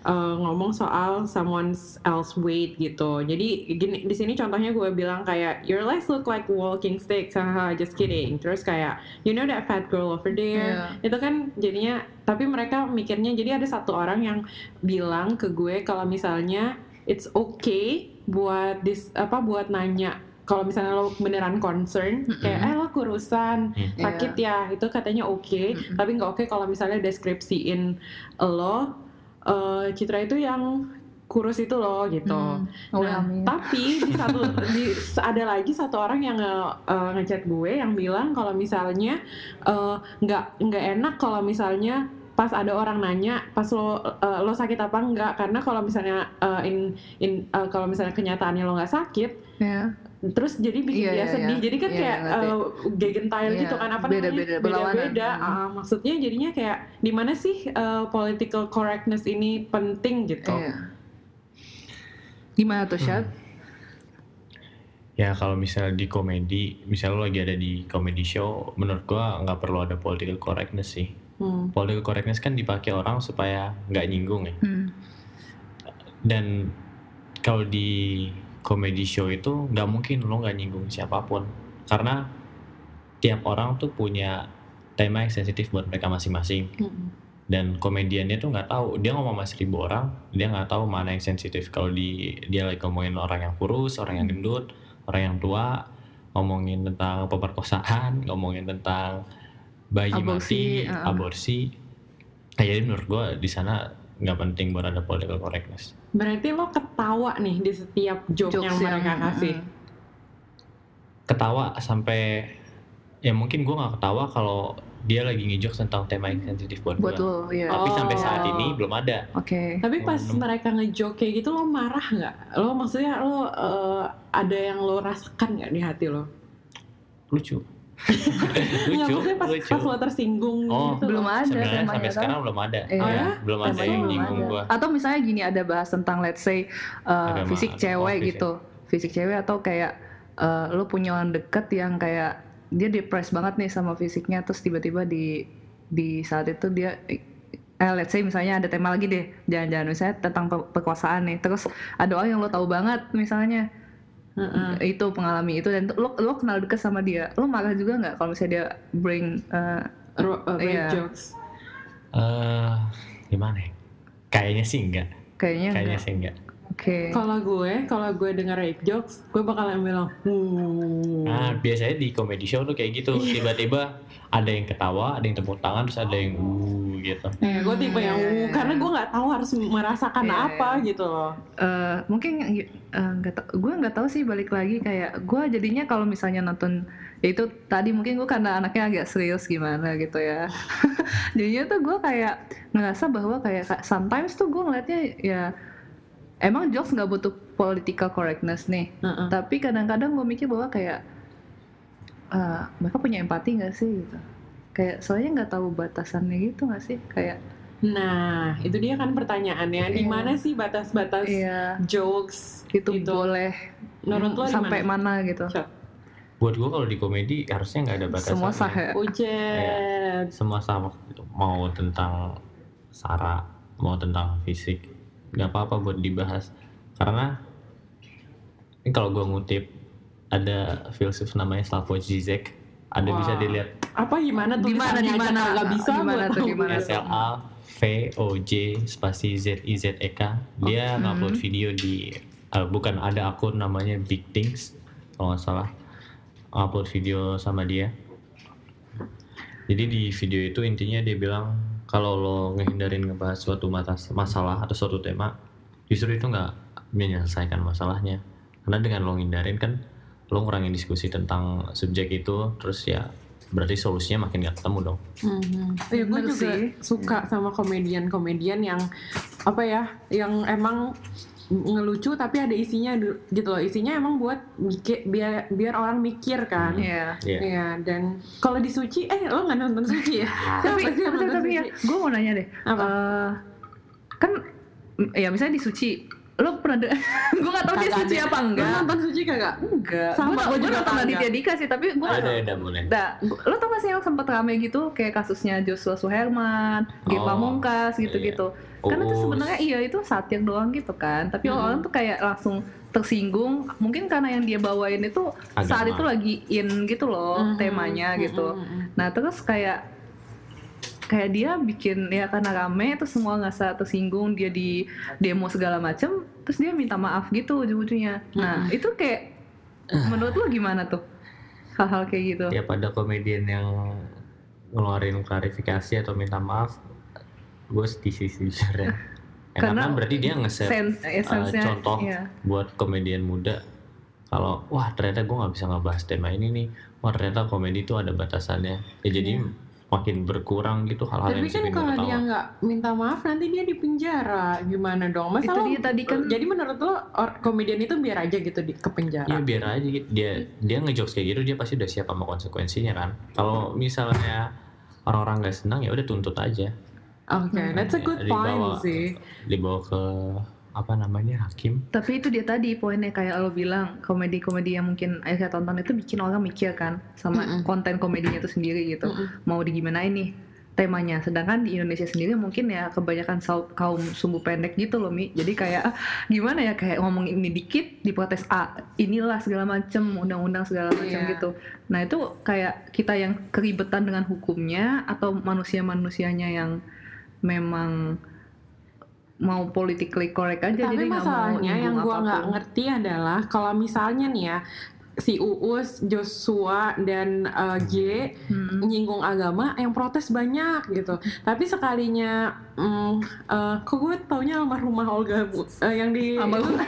[SPEAKER 2] eh, ngomong soal someone else weight gitu. Jadi gini di sini contohnya gue bilang kayak your legs look like walking sticks, haha, just kidding. Terus kayak you know that fat girl over there,
[SPEAKER 3] Iya.
[SPEAKER 2] itu kan jadinya tapi mereka mikirnya jadi ada satu orang yang bilang ke gue kalau misalnya it's okay buat dis apa buat nanya kalau misalnya lo beneran concern kayak eh lo kurusan
[SPEAKER 4] Mm.
[SPEAKER 2] sakit ya itu katanya oke
[SPEAKER 3] Iya. Mm-mm.
[SPEAKER 2] tapi nggak oke kalau misalnya deskripsiin lo eh, Citra itu yang kurus itu loh gitu
[SPEAKER 3] Hmm. Oh,
[SPEAKER 2] Nah,
[SPEAKER 3] amin.
[SPEAKER 2] tapi di satu di- ada lagi satu orang yang nge, eh, ngechat gue yang bilang kalau misalnya eh, nggak nggak enak kalau misalnya pas ada orang nanya pas lo eh, lo sakit apa enggak karena kalau misalnya eh, in in eh, kalau misalnya kenyataannya lo nggak sakit
[SPEAKER 3] Iya.
[SPEAKER 2] terus jadi bikin
[SPEAKER 3] Iya,
[SPEAKER 2] dia
[SPEAKER 3] iya,
[SPEAKER 2] sedih
[SPEAKER 3] iya.
[SPEAKER 2] jadi kan
[SPEAKER 3] Iya,
[SPEAKER 2] kayak
[SPEAKER 3] ngerti.
[SPEAKER 2] eh, gegentile
[SPEAKER 3] Iya,
[SPEAKER 2] gitu kan apa
[SPEAKER 3] beda-beda, Hmm.
[SPEAKER 2] namanya
[SPEAKER 3] berlawanan.
[SPEAKER 2] beda-beda Ah, maksudnya jadinya kayak di mana sih eh, political correctness ini penting gitu
[SPEAKER 3] Iya. Gimana tuh, Syad?
[SPEAKER 4] ya kalau misalnya di komedi misalnya lo lagi ada di comedy show menurut gue nggak perlu ada political correctness sih
[SPEAKER 2] Hmm.
[SPEAKER 4] political correctness kan dipakai orang supaya nggak nyinggung ya
[SPEAKER 3] Hmm.
[SPEAKER 4] dan kalau di comedy show itu nggak mungkin lo nggak nyinggung siapapun karena tiap orang tuh punya tema yang sensitif buat mereka masing-masing
[SPEAKER 2] Mm-mm.
[SPEAKER 4] dan komediannya tuh nggak tahu dia ngomong sama seribu orang dia nggak tahu mana yang sensitif kalau di dia lagi ngomongin orang yang kurus orang yang gendut orang yang tua ngomongin tentang pemerkosaan ngomongin tentang bayi
[SPEAKER 3] Aborsi,
[SPEAKER 4] mati
[SPEAKER 3] uh-uh.
[SPEAKER 4] aborsi Nah, jadi menurut gua di sana nggak penting buat ada political correctness
[SPEAKER 2] Berarti lo ketawa nih di setiap joke yang
[SPEAKER 3] Jokes
[SPEAKER 2] mereka kasih.
[SPEAKER 3] mm,
[SPEAKER 4] ketawa sampai ya mungkin gua nggak ketawa kalau dia lagi ngejok tentang tema yang sensitif buat,
[SPEAKER 3] buat
[SPEAKER 4] gua
[SPEAKER 3] lo, ya.
[SPEAKER 4] tapi sampai saat
[SPEAKER 2] Oh.
[SPEAKER 4] ini belum ada
[SPEAKER 3] Oke.
[SPEAKER 2] Tapi pas
[SPEAKER 4] Hmm.
[SPEAKER 2] mereka ngejoke kayak gitu lo marah nggak? Lo maksudnya lo eh, ada yang lo rasakan nggak di hati lo?
[SPEAKER 4] lucu
[SPEAKER 2] Nggak,
[SPEAKER 4] lucu
[SPEAKER 2] maksudnya pas,
[SPEAKER 4] lucu
[SPEAKER 2] pas lo tersinggung
[SPEAKER 4] Oh,
[SPEAKER 2] gitu.
[SPEAKER 3] Belum
[SPEAKER 2] lo.
[SPEAKER 3] ada
[SPEAKER 4] sebenarnya
[SPEAKER 3] temanya,
[SPEAKER 4] sampai
[SPEAKER 3] kan?
[SPEAKER 4] sekarang belum ada
[SPEAKER 3] Iya.
[SPEAKER 2] Oh ya?
[SPEAKER 4] belum ada
[SPEAKER 2] Sampai
[SPEAKER 4] yang
[SPEAKER 2] sekarang belum
[SPEAKER 4] nyinggung
[SPEAKER 3] ada.
[SPEAKER 4] gua
[SPEAKER 3] Atau misalnya gini ada bahas tentang let's say uh,
[SPEAKER 4] Agama
[SPEAKER 3] fisik
[SPEAKER 4] atau
[SPEAKER 3] cewek
[SPEAKER 4] office
[SPEAKER 3] gitu, fisik cewek atau kayak uh, lo punya orang deket yang kayak dia depressed banget nih sama fisiknya, terus tiba-tiba di di saat itu dia eh let's say misalnya ada tema lagi deh, jangan-jangan misalnya tentang pe- perkosaan nih, terus ada orang yang lo tahu banget misalnya
[SPEAKER 2] Heeh.
[SPEAKER 3] itu pengalami itu dan lo lo kenal deket sama dia, lo marah juga nggak kalau misalnya dia bring uh,
[SPEAKER 2] Ro- eh, rape
[SPEAKER 3] Iya.
[SPEAKER 2] jokes.
[SPEAKER 4] Eh, gimana ya? Kayaknya sih enggak.
[SPEAKER 3] kayaknya
[SPEAKER 4] Kayaknya
[SPEAKER 3] nggak?
[SPEAKER 4] sih enggak.
[SPEAKER 3] oke
[SPEAKER 2] Kalau gue, kalau gue denger rape jokes, gue bakalan bilang, "Uh." "Wuh."
[SPEAKER 4] Nah, biasanya di comedy show tuh kayak gitu. Tiba-tiba ada yang ketawa, ada yang tepuk tangan, terus ada yang uh gitu.
[SPEAKER 2] Ya, gue tipe yang
[SPEAKER 3] Iya, iya,
[SPEAKER 2] "Wuh,"
[SPEAKER 3] iya.
[SPEAKER 2] karena gue nggak tahu harus merasakan
[SPEAKER 3] Iya,
[SPEAKER 2] apa gitu loh.
[SPEAKER 3] Eh, mungkin eh, nggak tau, gue nggak tahu sih balik lagi kayak gue jadinya kalau misalnya nonton ya itu tadi mungkin gue karena anaknya agak serius gimana gitu ya jadinya tuh gue kayak ngerasa bahwa kayak ka- sometimes tuh gue ngeliatnya ya emang jokes nggak butuh political correctness nih
[SPEAKER 2] Heeh.
[SPEAKER 3] tapi kadang-kadang gue mikir bahwa kayak eh, mereka punya empati nggak sih gitu kayak soalnya nggak tahu batasannya gitu nggak sih kayak
[SPEAKER 2] Nah, itu dia kan pertanyaannya,
[SPEAKER 3] Iya.
[SPEAKER 2] di mana sih batas-batas
[SPEAKER 3] iya
[SPEAKER 2] jokes
[SPEAKER 3] itu boleh
[SPEAKER 2] gitu. Menurut lo di
[SPEAKER 3] sampai mana gitu
[SPEAKER 4] Buat gua kalau di komedi harusnya nggak ada batasan.
[SPEAKER 3] semua sah ya
[SPEAKER 4] ya.
[SPEAKER 2] Ujet.
[SPEAKER 4] Semua sah mau tentang sara, mau tentang fisik, nggak apa-apa buat dibahas. Karena ini kalau gua ngutip ada filsuf namanya Slavoj Zizek, ada
[SPEAKER 2] Wah.
[SPEAKER 4] bisa dilihat
[SPEAKER 2] Apa gimana tuh?
[SPEAKER 3] Di mana, di mana?
[SPEAKER 2] Gak bisa
[SPEAKER 3] Gimana
[SPEAKER 2] gua
[SPEAKER 3] tuh,
[SPEAKER 2] tahu.
[SPEAKER 3] gimana?
[SPEAKER 4] Iya, S L A V O J spasi Z I Z E K. Dia
[SPEAKER 3] Hmm.
[SPEAKER 4] ngupload video di eh, bukan ada akun namanya Big Things kalau nggak salah. Upload video sama dia. Jadi di video itu intinya dia bilang kalau lo ngehindarin ngebahas suatu matas- masalah atau suatu tema, justru itu nggak menyelesaikan masalahnya. Karena dengan lo ngindarin kan lo ngurangin diskusi tentang subjek itu, terus ya berarti solusinya makin nggak ketemu dong.
[SPEAKER 2] Mhm. Ya, gue
[SPEAKER 3] Iya, Bener
[SPEAKER 2] juga
[SPEAKER 3] sih.
[SPEAKER 2] suka sama komedian-komedian yang apa ya, yang emang ngelucu tapi ada isinya du- gitu loh. Isinya emang buat mikir, biar biar orang mikir kan. Iya.
[SPEAKER 3] Iya.
[SPEAKER 4] Iya.
[SPEAKER 2] dan kalau di Suci, eh lo nggak nonton Suci ya?
[SPEAKER 3] Tapi,
[SPEAKER 2] Apa sih yang
[SPEAKER 3] tapi,
[SPEAKER 2] nonton
[SPEAKER 3] tapi ya,
[SPEAKER 2] Suci?
[SPEAKER 3] gue mau nanya deh.
[SPEAKER 2] Apa?
[SPEAKER 3] Eh, kan, mm, ya misalnya di suci, lo pernah de- gue gak tau dia
[SPEAKER 2] Kagak
[SPEAKER 3] suci
[SPEAKER 2] ada.
[SPEAKER 3] apa
[SPEAKER 2] Lo
[SPEAKER 3] enggak.
[SPEAKER 2] nonton Suci kagak?
[SPEAKER 3] Enggak.
[SPEAKER 2] Sama,
[SPEAKER 3] Gue tau,
[SPEAKER 2] gua
[SPEAKER 3] gue
[SPEAKER 2] juga
[SPEAKER 3] nonton
[SPEAKER 2] kagak.
[SPEAKER 3] Raditya Dika sih, tapi gue
[SPEAKER 4] Ada ada boleh.
[SPEAKER 3] Nah, gua- lo tau gak sih yang sempet rame gitu kayak kasusnya Joshua Suherman, G
[SPEAKER 4] Oh,
[SPEAKER 3] Pamungkas
[SPEAKER 4] iya,
[SPEAKER 3] gitu-gitu. Karena itu
[SPEAKER 4] Uus.
[SPEAKER 3] sebenarnya iya itu satir doang gitu kan. Tapi
[SPEAKER 2] Mhm.
[SPEAKER 3] orang tuh kayak langsung tersinggung, mungkin karena yang dia bawain itu saat
[SPEAKER 4] Agama.
[SPEAKER 3] itu lagi in gitu loh
[SPEAKER 2] Mhm,
[SPEAKER 3] temanya
[SPEAKER 2] mhm,
[SPEAKER 3] gitu.
[SPEAKER 2] mhm.
[SPEAKER 3] Nah terus kayak kayak dia bikin ya karena rame terus semua ngerasa tersinggung dia di demo segala macem terus dia minta maaf gitu ujung-ujungnya. Nah itu kayak menurut lo gimana tuh hal-hal kayak gitu?
[SPEAKER 4] Tiap ada komedian yang ngeluarin klarifikasi atau minta maaf, gue di sisi jujurnya. Ya, Karena,
[SPEAKER 3] Karena
[SPEAKER 4] berarti dia nge-share
[SPEAKER 3] Sen- esensinya,
[SPEAKER 4] contoh.
[SPEAKER 3] iya.
[SPEAKER 4] buat komedian muda kalau wah ternyata gue nggak bisa ngebahas tema ini nih, wah ternyata komedi itu ada batasannya. Ya jadi makin berkurang gitu
[SPEAKER 2] Tapi
[SPEAKER 4] hal-hal yang
[SPEAKER 2] kan
[SPEAKER 4] bikin gua
[SPEAKER 2] kalau
[SPEAKER 4] ketawa.
[SPEAKER 2] dia nggak minta maaf nanti dia di penjara gimana dong? Masa
[SPEAKER 3] Itu
[SPEAKER 2] lo-
[SPEAKER 3] dia tadi kan
[SPEAKER 2] jadi menurut lo or- komedian itu biar aja gitu di ke penjara?
[SPEAKER 4] Ya biar aja gitu. dia dia ngejokes kayak gitu dia pasti udah siap sama konsekuensinya kan. Kalau misalnya orang-orang nggak senang ya udah tuntut aja.
[SPEAKER 2] Oke,
[SPEAKER 3] Hmm.
[SPEAKER 2] that's a good
[SPEAKER 4] Jadi
[SPEAKER 2] point
[SPEAKER 4] bawa-
[SPEAKER 2] sih.
[SPEAKER 4] dibawa ke apa namanya hakim
[SPEAKER 3] Tapi itu dia tadi poinnya kayak lo bilang komedi-komedi yang mungkin akhirnya tonton itu bikin orang mikir kan sama
[SPEAKER 2] Mm-mm.
[SPEAKER 3] konten komedinya itu sendiri gitu.
[SPEAKER 2] Mm-mm.
[SPEAKER 3] Mau digimanain nih temanya. Sedangkan di Indonesia sendiri mungkin ya kebanyakan sau- kaum sumbu pendek gitu loh Mi. Jadi kayak ah, gimana ya kayak ngomong ini dikit diprotes A, inilah segala macem undang-undang segala macem
[SPEAKER 2] Iya.
[SPEAKER 3] gitu. Nah, itu kayak kita yang keribetan dengan hukumnya atau manusia-manusianya yang memang mau politically correct aja
[SPEAKER 2] Tapi
[SPEAKER 3] jadi nggak mau
[SPEAKER 2] masalahnya yang
[SPEAKER 3] nyinggung
[SPEAKER 2] gua nggak
[SPEAKER 3] apapun.
[SPEAKER 2] ngerti adalah kalau misalnya nih ya si Uus, Joshua dan eh, G
[SPEAKER 3] Hmm.
[SPEAKER 2] nyinggung agama yang protes banyak gitu. Tapi sekalinya mm, eh, kok gue taunya almarhumah Olga Bu- eh, yang di
[SPEAKER 3] Almarhum.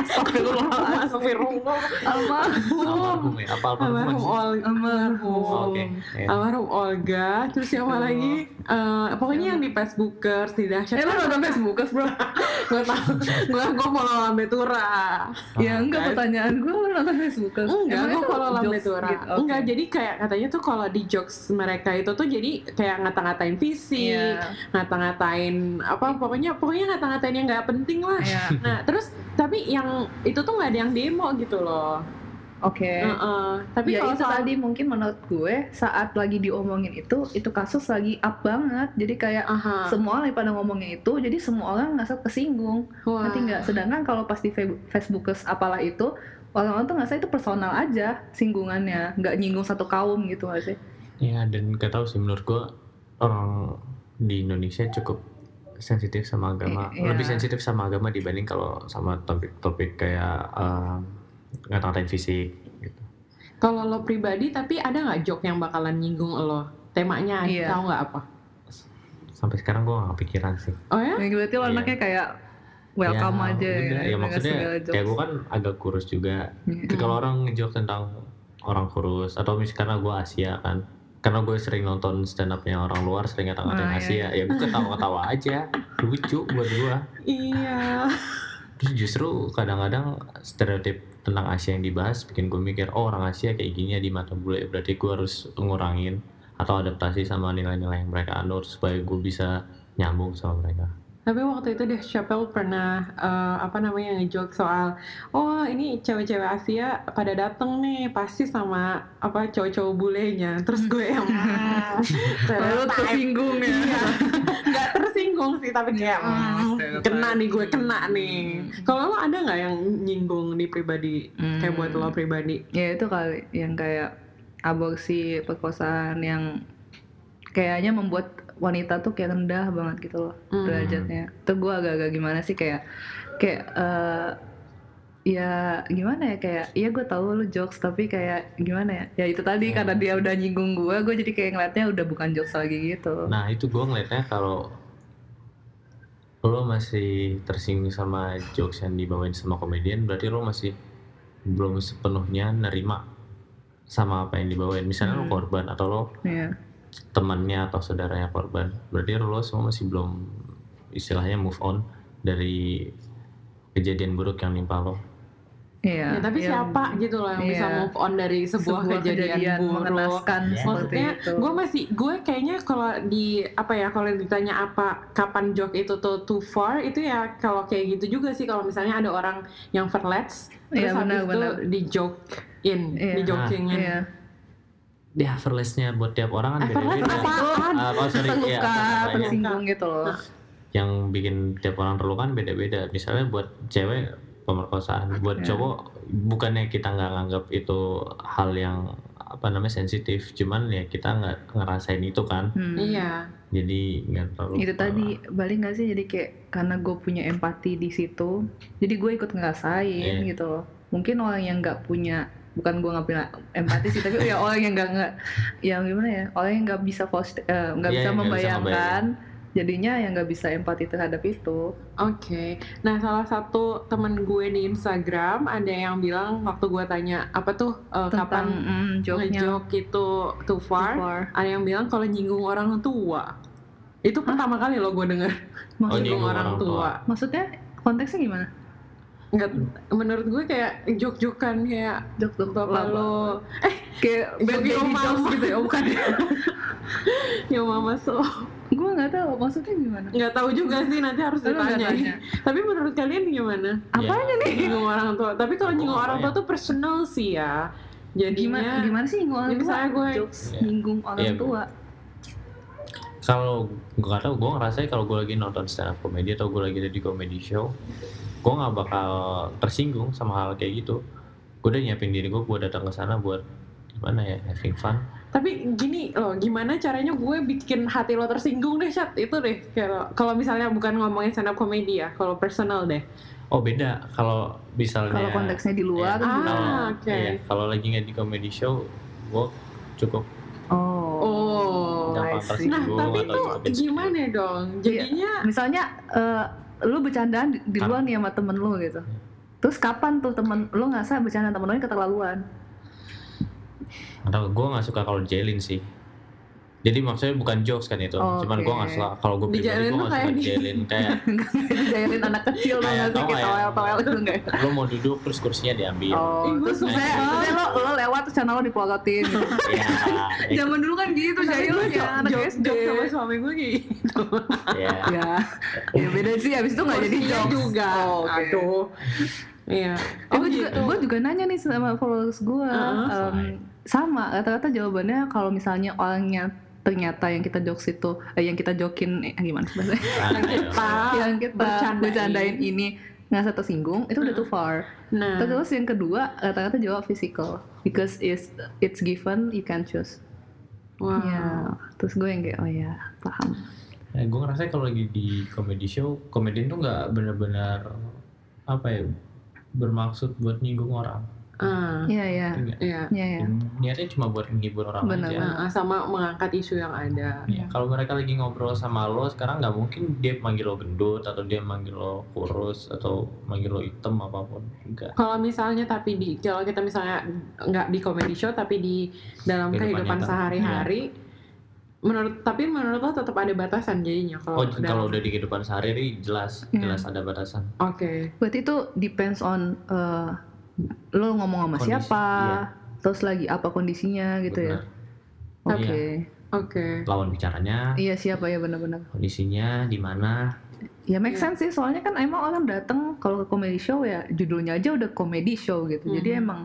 [SPEAKER 2] Astagfirullah, Astagfirullah.
[SPEAKER 3] Oh.
[SPEAKER 4] almarhum ya apa almarhum
[SPEAKER 2] Almarhum
[SPEAKER 4] sih?
[SPEAKER 2] Olga.
[SPEAKER 4] Oh,
[SPEAKER 2] Almarhum.
[SPEAKER 4] oke Ya.
[SPEAKER 2] Almarhum Olga, terus siapa
[SPEAKER 3] Aduh.
[SPEAKER 2] lagi? Eh, pokoknya yang di Facebookers, di
[SPEAKER 3] Eh,
[SPEAKER 2] Dahsyat.
[SPEAKER 3] lu nonton Facebookers, bro?
[SPEAKER 2] gue tau, gue gue follow Lambe Tura.
[SPEAKER 3] ya
[SPEAKER 4] ah,
[SPEAKER 3] enggak
[SPEAKER 2] guys.
[SPEAKER 3] pertanyaan gue lu nonton Facebookers.
[SPEAKER 2] Enggak,
[SPEAKER 3] Emang
[SPEAKER 2] gue
[SPEAKER 3] itu
[SPEAKER 2] follow Lambe
[SPEAKER 3] jokes
[SPEAKER 2] Tura.
[SPEAKER 3] gitu? Oke.
[SPEAKER 2] Enggak, jadi kayak katanya tuh kalau di jokes mereka itu tuh jadi kayak ngata-ngatain visi,
[SPEAKER 3] Iya,
[SPEAKER 2] ngata-ngatain apa, pokoknya pokoknya ngata-ngatain yang nggak penting lah.
[SPEAKER 3] iya.
[SPEAKER 2] Nah, terus tapi yang itu tuh nggak ada yang demo gitu loh.
[SPEAKER 3] Oke.
[SPEAKER 2] Heeh. Tapi
[SPEAKER 3] Ya
[SPEAKER 2] kalau
[SPEAKER 3] itu
[SPEAKER 2] soal
[SPEAKER 3] tadi mungkin menurut gue saat lagi diomongin itu, itu kasus lagi up banget. Jadi kayak
[SPEAKER 2] Aha.
[SPEAKER 3] semua lagi pada ngomongnya itu, jadi semua orang ngerasa kesinggung.
[SPEAKER 2] Wah.
[SPEAKER 3] Nanti nggak. Sedangkan kalau pas di Fe- Facebookers apalah itu, orang-orang tuh ngerasa itu personal aja singgungannya, nggak nyinggung satu kaum gitu nggak sih?
[SPEAKER 4] iya, ya dan gak tahu sih menurut gua orang di Indonesia cukup sensitif sama agama
[SPEAKER 3] I- iya.
[SPEAKER 4] lebih sensitif sama agama dibanding kalau sama topik-topik kayak ehm, em, ngata-ngatain fisik gitu
[SPEAKER 2] Kalau lo pribadi tapi ada nggak joke yang bakalan nyinggung lo? Temanya
[SPEAKER 3] Iya.
[SPEAKER 2] tahu nggak apa?
[SPEAKER 4] sampai sekarang gue gak kepikiran sih
[SPEAKER 2] Oh ya?
[SPEAKER 3] Ya, berarti lo
[SPEAKER 4] Iya.
[SPEAKER 3] anaknya kayak welcome
[SPEAKER 4] Ya,
[SPEAKER 3] aja
[SPEAKER 4] udah. ya,
[SPEAKER 3] dengan
[SPEAKER 4] maksudnya
[SPEAKER 3] segala jokes.
[SPEAKER 4] ya gue kan agak kurus juga
[SPEAKER 3] Iya.
[SPEAKER 4] Jadi kalau orang ngejok tentang orang kurus atau misalnya karena gue Asia kan karena gue sering nonton stand upnya orang luar sering ngata-ngatain
[SPEAKER 3] Ah, iya.
[SPEAKER 4] Asia ya gue ketawa-ketawa aja lucu buat gue
[SPEAKER 2] Iya.
[SPEAKER 4] terus justru kadang-kadang stereotip tentang Asia yang dibahas bikin gue mikir oh orang Asia kayak gini ya di mata bule berarti gue harus ngurangin atau adaptasi sama nilai-nilai yang mereka anut supaya gue bisa nyambung sama mereka
[SPEAKER 2] Tapi waktu itu deh Chappelle pernah eh, apa namanya ngejoke soal oh ini cewek-cewek Asia pada dateng nih pasti sama apa cowok-cowok bulenya. Terus gue yang "Ah,
[SPEAKER 3] Lalu
[SPEAKER 2] stereotype."
[SPEAKER 3] tersinggung ya. Iya,
[SPEAKER 2] Iya. Nggak tersinggung sih tapi kayak "Hmm,
[SPEAKER 3] stereotype."
[SPEAKER 2] kena nih gue kena nih. Kalau lo ada nggak yang nyinggung di pribadi kayak buat lo pribadi?
[SPEAKER 3] Ya itu kali yang kayak aborsi, perkosaan yang kayaknya membuat wanita tuh kayak rendah banget gitu loh
[SPEAKER 2] Hmm.
[SPEAKER 3] derajatnya. Itu gue agak-agak gimana sih kayak kayak eh, ya gimana ya kayak iya gue tahu lu jokes tapi kayak gimana ya ya itu tadi
[SPEAKER 4] Hmm.
[SPEAKER 3] karena dia udah nyinggung gue gue jadi kayak ngeliatnya udah bukan jokes lagi gitu
[SPEAKER 4] Nah itu gue ngeliatnya kalau lo masih tersinggung sama jokes yang dibawain sama komedian berarti lo masih belum sepenuhnya nerima sama apa yang dibawain misalnya lo
[SPEAKER 3] Hmm.
[SPEAKER 4] korban atau lo
[SPEAKER 3] Iya.
[SPEAKER 4] temannya atau saudaranya korban berarti lo semua masih belum istilahnya move on dari kejadian buruk yang nimpa lo
[SPEAKER 3] Iya.
[SPEAKER 2] Ya, tapi
[SPEAKER 3] Iya.
[SPEAKER 2] siapa gitu loh yang bisa
[SPEAKER 3] Iya.
[SPEAKER 2] move on dari sebuah, kejadian, buruk?
[SPEAKER 3] mengenaskan
[SPEAKER 4] Iya.
[SPEAKER 3] seperti
[SPEAKER 2] maksudnya
[SPEAKER 3] itu.
[SPEAKER 2] gue masih gue kayaknya kalau di apa ya kalau ditanya apa kapan joke itu tuh too far itu ya kalau kayak gitu juga sih kalau misalnya ada orang yang verlets terus
[SPEAKER 3] Iya,
[SPEAKER 2] habis
[SPEAKER 3] benar,
[SPEAKER 2] itu
[SPEAKER 3] benar.
[SPEAKER 2] di jokein
[SPEAKER 3] Iya.
[SPEAKER 2] di jokingin
[SPEAKER 3] Iya.
[SPEAKER 4] ya verlesnya buat tiap orang kan
[SPEAKER 2] eh verlet
[SPEAKER 4] beda-beda
[SPEAKER 2] apaan Nah.
[SPEAKER 4] Ah, oh, sorry, iya,
[SPEAKER 3] terluka,
[SPEAKER 4] apa namanya?
[SPEAKER 3] tersinggung gitu loh.
[SPEAKER 4] yang bikin tiap orang terluka kan beda-beda. Misalnya buat cewek pemerkosaan, buat
[SPEAKER 3] Ya.
[SPEAKER 4] cowok bukannya kita nggak nganggap itu hal yang apa namanya sensitif, cuman ya kita nggak ngerasain itu kan,
[SPEAKER 3] Hmm.
[SPEAKER 2] iya
[SPEAKER 4] jadi nggak terlalu.
[SPEAKER 3] Itu
[SPEAKER 4] parah.
[SPEAKER 3] tadi balik nggak sih jadi kayak karena gue punya empati di situ, jadi gue ikut ngerasain
[SPEAKER 4] Iya.
[SPEAKER 3] gitu loh. Mungkin orang yang nggak punya bukan gue nggak punya empati sih tapi ya orang yang nggak nggak yang gimana ya orang yang nggak bisa post eh, nggak bisa
[SPEAKER 4] Iya, yang nggak bisa
[SPEAKER 3] membayangkan jadinya yang nggak bisa empati terhadap itu
[SPEAKER 2] Oke, nah salah satu temen gue di Instagram ada yang bilang waktu gue tanya apa tuh eh,
[SPEAKER 3] tentang
[SPEAKER 2] kapan
[SPEAKER 3] mm, joke-nya
[SPEAKER 2] ngejok itu
[SPEAKER 3] so
[SPEAKER 2] too far,
[SPEAKER 3] far.
[SPEAKER 2] ada yang bilang kalau nyinggung orang tua itu pertama kali loh gue denger
[SPEAKER 4] Oh,
[SPEAKER 3] Maksud-
[SPEAKER 2] nyinggung
[SPEAKER 4] nyinggung
[SPEAKER 2] orang
[SPEAKER 4] orang
[SPEAKER 2] tua.
[SPEAKER 3] maksudnya konteksnya gimana
[SPEAKER 2] Nggak, menurut gue kayak jok-jokan kayak
[SPEAKER 3] jok jok
[SPEAKER 2] bapak lo,
[SPEAKER 3] kayak
[SPEAKER 2] Joke
[SPEAKER 3] bad
[SPEAKER 2] your
[SPEAKER 3] baby
[SPEAKER 2] mom.
[SPEAKER 3] jokes gitu ya oh, bukan
[SPEAKER 2] ya mama so.
[SPEAKER 3] gue nggak tahu maksudnya gimana
[SPEAKER 2] Nggak tahu juga sih nanti harus
[SPEAKER 3] Lu nggak
[SPEAKER 2] ditanya.
[SPEAKER 3] tanya.
[SPEAKER 2] Tapi menurut kalian gimana?
[SPEAKER 3] Apanya
[SPEAKER 4] Ya,
[SPEAKER 2] Nyinggung orang tua. Tapi kalau
[SPEAKER 4] Aku
[SPEAKER 2] nyinggung
[SPEAKER 4] nggak
[SPEAKER 2] orang tua
[SPEAKER 4] tanya.
[SPEAKER 2] tuh personal sih ya.
[SPEAKER 3] gimana
[SPEAKER 2] Jadinya
[SPEAKER 3] gimana sih nyinggung orang
[SPEAKER 2] Jadi
[SPEAKER 3] tua
[SPEAKER 2] misalnya gue-
[SPEAKER 3] jokes
[SPEAKER 4] Iya.
[SPEAKER 3] nyinggung orang
[SPEAKER 4] Iya.
[SPEAKER 3] tua
[SPEAKER 4] Kalau gue nggak tahu, gue ngerasain kalau gue lagi nonton stand up comedy atau gue lagi ada di comedy show, gue nggak bakal tersinggung sama hal kayak gitu. Gue udah nyiapin diri gue buat datang ke sana buat gimana ya having fun.
[SPEAKER 2] Tapi gini loh, gimana caranya gue bikin hati lo tersinggung deh, Chat? Itu deh. Kalau kalau misalnya bukan ngomongin stand up comedy ya, kalau personal deh.
[SPEAKER 4] Oh beda kalau misalnya.
[SPEAKER 3] kalau konteksnya di luar
[SPEAKER 4] Iya.
[SPEAKER 3] gimana?
[SPEAKER 4] Kalau-
[SPEAKER 2] Ah, oke.
[SPEAKER 4] iya, kalau lagi nggak di comedy show, gue cukup
[SPEAKER 3] oh,
[SPEAKER 2] Oh.
[SPEAKER 3] I
[SPEAKER 4] gampang
[SPEAKER 3] see.
[SPEAKER 2] Nah,
[SPEAKER 4] tersinggung
[SPEAKER 2] tapi
[SPEAKER 4] atau
[SPEAKER 2] itu
[SPEAKER 4] cukup insecure.
[SPEAKER 2] gimana dong? Jadinya
[SPEAKER 3] misalnya eh, lu bercandaan di- di
[SPEAKER 4] Kan.
[SPEAKER 3] luar nih sama temen lu gitu
[SPEAKER 4] Iya.
[SPEAKER 3] terus kapan tuh temen lu ngerasa bercandaan temen lu ini keterlaluan
[SPEAKER 4] Atau gue nggak suka kalau jelin sih. Jadi maksudnya bukan jokes kan itu,
[SPEAKER 3] Oke.
[SPEAKER 4] cuman gue nggak suka kalau gue pribadi
[SPEAKER 2] Dijalin
[SPEAKER 4] gue
[SPEAKER 2] lu
[SPEAKER 4] nggak suka
[SPEAKER 2] kayak di-
[SPEAKER 4] jelin kayak
[SPEAKER 3] dijailin anak kecil lo
[SPEAKER 4] Kayak
[SPEAKER 3] nggak sih
[SPEAKER 4] tau
[SPEAKER 3] kita
[SPEAKER 4] ya. Iya.
[SPEAKER 3] wel towel gitu nggak
[SPEAKER 4] lo mau duduk terus kursinya diambil.
[SPEAKER 3] oh
[SPEAKER 2] Ih, gue
[SPEAKER 3] terus
[SPEAKER 2] suka.
[SPEAKER 3] misalnya, misalnya lo lo lewat terus channel lo dipolotin gitu.
[SPEAKER 4] Iya, itu-
[SPEAKER 3] zaman dulu kan gitu jailnya anak
[SPEAKER 2] jok,
[SPEAKER 3] SD
[SPEAKER 2] jok sama suami gue kayak gitu.
[SPEAKER 4] iya.
[SPEAKER 3] ya ya beda sih abis itu nggak jadi
[SPEAKER 2] Porsinya
[SPEAKER 3] jokes
[SPEAKER 2] juga.
[SPEAKER 3] Oh, oke.
[SPEAKER 2] Aduh. Iya.
[SPEAKER 3] Eh, gue juga, gue juga nanya nih sama followers gue
[SPEAKER 2] Heeh.
[SPEAKER 3] em, sama rata-rata jawabannya kalau misalnya orangnya ternyata yang kita jokes itu eh, yang kita jokin eh, gimana sih bahasanya?
[SPEAKER 4] Aneh,
[SPEAKER 2] Kita
[SPEAKER 3] yang kita
[SPEAKER 2] Ah, bercandain.
[SPEAKER 3] bercandain, ini nggak satu singgung itu udah too far
[SPEAKER 2] Nah,
[SPEAKER 3] terus yang kedua rata-rata jawab physical because it's it's given you can choose Iya.
[SPEAKER 2] wow.
[SPEAKER 3] ya terus gue yang kayak oh ya iya, paham
[SPEAKER 4] Nah, gue ngerasa kalau lagi di comedy show, komedian tuh nggak benar-benar apa ya bermaksud buat nyinggung orang.
[SPEAKER 2] Ah,
[SPEAKER 3] Iya, iya.
[SPEAKER 4] Enggak.
[SPEAKER 2] iya.
[SPEAKER 3] Iya, iya.
[SPEAKER 4] Niatnya cuma buat menghibur orang
[SPEAKER 3] Bener
[SPEAKER 4] aja.
[SPEAKER 2] Nah, sama mengangkat isu yang ada.
[SPEAKER 4] Ya, kalau mereka lagi ngobrol sama lo sekarang nggak mungkin dia manggil lo gendut atau dia manggil lo kurus atau manggil lo hitam apapun enggak
[SPEAKER 2] Kalau misalnya tapi di kalau kita misalnya nggak di comedy show tapi di dalam
[SPEAKER 4] Kehidupan
[SPEAKER 2] kehidupan
[SPEAKER 4] nyata.
[SPEAKER 2] sehari-hari, menurut tapi menurut lo tetap ada batasan jadinya kalau
[SPEAKER 4] oh
[SPEAKER 2] dalam-
[SPEAKER 4] kalau udah di kehidupan sehari-hari jelas
[SPEAKER 3] Iya.
[SPEAKER 4] jelas ada batasan
[SPEAKER 2] Oke.
[SPEAKER 3] Berarti itu depends on eh, lo ngomong sama
[SPEAKER 4] Kondisi,
[SPEAKER 3] siapa,
[SPEAKER 4] iya.
[SPEAKER 3] terus lagi apa kondisinya gitu ya.
[SPEAKER 4] Benar.
[SPEAKER 3] Oke.
[SPEAKER 4] Iya.
[SPEAKER 2] Oke.
[SPEAKER 4] lawan bicaranya
[SPEAKER 3] Iya siapa ya benar-benar.
[SPEAKER 4] kondisinya di mana
[SPEAKER 3] Ya make
[SPEAKER 2] Iya.
[SPEAKER 3] sense sih soalnya kan emang orang datang kalau ke comedy show ya judulnya aja udah comedy show gitu. Jadi
[SPEAKER 2] Mhm.
[SPEAKER 3] emang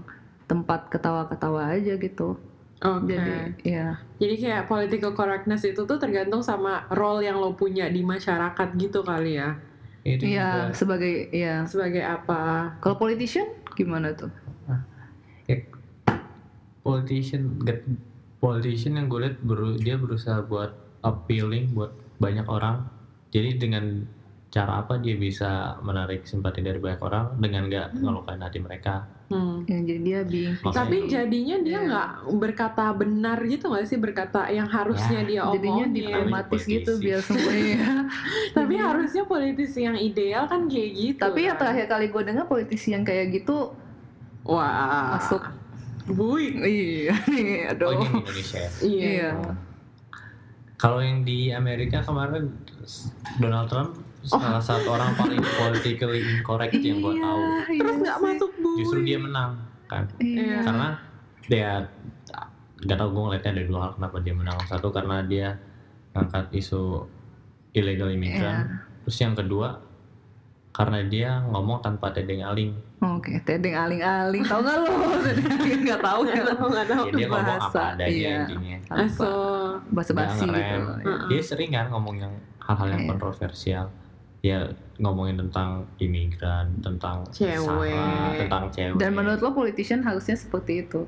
[SPEAKER 3] tempat ketawa-ketawa aja gitu.
[SPEAKER 2] Oke.
[SPEAKER 3] Jadi ya
[SPEAKER 2] Jadi kayak political correctness itu tuh tergantung sama role yang lo punya di masyarakat gitu kali ya.
[SPEAKER 4] itu
[SPEAKER 3] iya
[SPEAKER 4] juga
[SPEAKER 3] sebagai ya
[SPEAKER 2] Sebagai apa?
[SPEAKER 3] kalau politician gimana tuh?
[SPEAKER 4] politician get, politician yang gue lihat beru- dia berusaha buat appealing buat banyak orang jadi dengan cara apa dia bisa menarik simpati dari banyak orang dengan nggak
[SPEAKER 3] Hmm.
[SPEAKER 4] ngelukain hati mereka
[SPEAKER 2] Hmm.
[SPEAKER 3] Yang jadi dia being
[SPEAKER 4] Makanya-
[SPEAKER 2] Tapi jadinya dia
[SPEAKER 3] Iya.
[SPEAKER 2] nggak berkata benar gitu nggak sih berkata yang harusnya
[SPEAKER 4] Ya,
[SPEAKER 2] dia
[SPEAKER 3] jadinya
[SPEAKER 2] omongin.
[SPEAKER 3] diplomatis
[SPEAKER 4] Politisi.
[SPEAKER 3] gitu biar semua iya.
[SPEAKER 2] Tapi harusnya politisi yang ideal kan kayak gitu.
[SPEAKER 3] Tapi ya
[SPEAKER 2] kan.
[SPEAKER 3] terakhir kali gue dengar politisi yang kayak gitu
[SPEAKER 2] wah
[SPEAKER 3] masuk
[SPEAKER 2] bui.
[SPEAKER 3] iya nih,
[SPEAKER 4] Ah.
[SPEAKER 3] aduh.
[SPEAKER 4] oh ini di Indonesia ya?
[SPEAKER 2] Iya.
[SPEAKER 3] Iya.
[SPEAKER 4] Kalau yang di Amerika kemarin Donald Trump salah satu orang paling politically incorrect yang gue tahu.
[SPEAKER 3] Oh. iya
[SPEAKER 2] Terus nggak
[SPEAKER 3] sih.
[SPEAKER 2] masuk bui.
[SPEAKER 4] Justru dia menang kan?
[SPEAKER 3] Iya.
[SPEAKER 4] Karena dia nggak tahu gue ngeliatnya ada dua hal kenapa dia menang. Satu karena dia ngangkat isu illegal
[SPEAKER 3] Iya.
[SPEAKER 4] immigrant. Terus yang kedua karena dia ngomong tanpa tedeng aling.
[SPEAKER 3] Oke, tedeng aling-aling. Tahu nggak lo? Tedeng aling nggak tahu
[SPEAKER 2] nggak
[SPEAKER 3] ya.
[SPEAKER 2] tahu nggak tahu.
[SPEAKER 4] Ya, dia ngomong
[SPEAKER 3] bahasa,
[SPEAKER 4] apa adanya
[SPEAKER 3] iya.
[SPEAKER 4] intinya.
[SPEAKER 2] Aso.
[SPEAKER 3] bahasa basi
[SPEAKER 4] Nggak
[SPEAKER 3] gitu.
[SPEAKER 4] ngerem. Dia sering kan ngomong yang hal-hal yang
[SPEAKER 3] Iya.
[SPEAKER 4] kontroversial. Ya ngomongin tentang imigran, tentang
[SPEAKER 2] Cewek.
[SPEAKER 4] sara, tentang cewek.
[SPEAKER 3] Dan menurut lo politician harusnya seperti itu.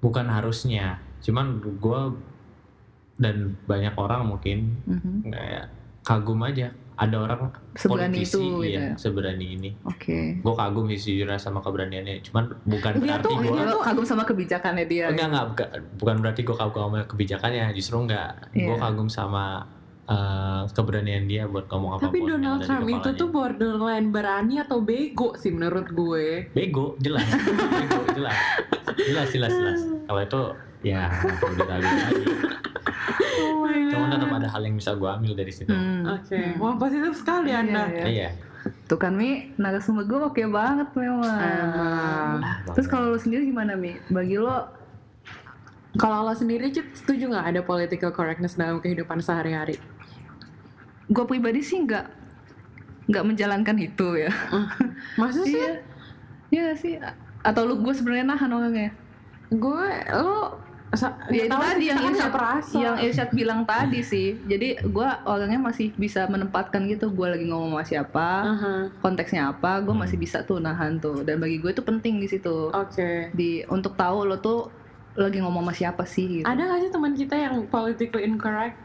[SPEAKER 4] bukan harusnya, cuman gua dan banyak orang mungkin
[SPEAKER 3] Mhm.
[SPEAKER 4] kayak kagum aja. Ada orang
[SPEAKER 3] Seberani
[SPEAKER 4] politisi
[SPEAKER 3] itu gitu ya.
[SPEAKER 4] ya, seberani ini.
[SPEAKER 3] Oke.
[SPEAKER 4] Gue kagum sih sejujurnya sama keberaniannya, cuman bukan
[SPEAKER 2] Dia
[SPEAKER 4] berarti
[SPEAKER 2] tuh-
[SPEAKER 4] gue
[SPEAKER 2] dia
[SPEAKER 3] Lo
[SPEAKER 2] tuh-
[SPEAKER 3] kagum sama kebijakannya dia.
[SPEAKER 4] enggak, enggak, buka- bukan berarti gue kagum sama kebijakannya, justru enggak. Gue
[SPEAKER 3] Iya.
[SPEAKER 4] kagum sama eh, keberanian dia buat ngomong apa
[SPEAKER 2] Tapi Donald Trump itu tuh borderline berani atau bego sih menurut gue.
[SPEAKER 4] bego jelas bego jelas jelas jelas jelas kalau itu ya nggak perlu diraguin lagi
[SPEAKER 3] Oh
[SPEAKER 4] cuma tetap ada hal yang bisa gue ambil dari situ
[SPEAKER 3] Hmm.
[SPEAKER 2] Oke,
[SPEAKER 3] Hmm.
[SPEAKER 2] wah positif sekali
[SPEAKER 3] Iya,
[SPEAKER 2] Anda.
[SPEAKER 3] iya.
[SPEAKER 4] iya
[SPEAKER 3] Tuh kan Mi, narasumber gue oke banget
[SPEAKER 2] Emang.
[SPEAKER 3] memang. Terus kalau lo sendiri gimana Mi? Bagi lo,
[SPEAKER 2] Kalau lo sendiri Cit, setuju nggak ada political correctness dalam kehidupan sehari-hari?
[SPEAKER 3] gue pribadi sih nggak nggak menjalankan itu ya.
[SPEAKER 2] Maksud sih
[SPEAKER 3] Iya, iya nggak sih. Atau lu gue sebenarnya nahan orangnya.
[SPEAKER 2] gue lo sa-
[SPEAKER 3] Ya, itu
[SPEAKER 2] tahu
[SPEAKER 3] tadi
[SPEAKER 2] sih,
[SPEAKER 3] yang Iya.
[SPEAKER 2] kita kan
[SPEAKER 3] Irsyad-
[SPEAKER 2] nggak perasa.
[SPEAKER 3] Yang Irsyad bilang tadi sih. Jadi gue orangnya masih bisa menempatkan gitu. Gue lagi ngomong sama siapa,
[SPEAKER 2] Aha,
[SPEAKER 3] konteksnya apa, gue
[SPEAKER 4] Hmm.
[SPEAKER 3] masih bisa tuh nahan tuh. Dan bagi gue itu penting di situ.
[SPEAKER 2] Oke.
[SPEAKER 3] Di untuk tahu lo tuh lagi ngomong sama siapa sih. Gitu.
[SPEAKER 2] Ada nggak sih teman kita yang politically incorrect?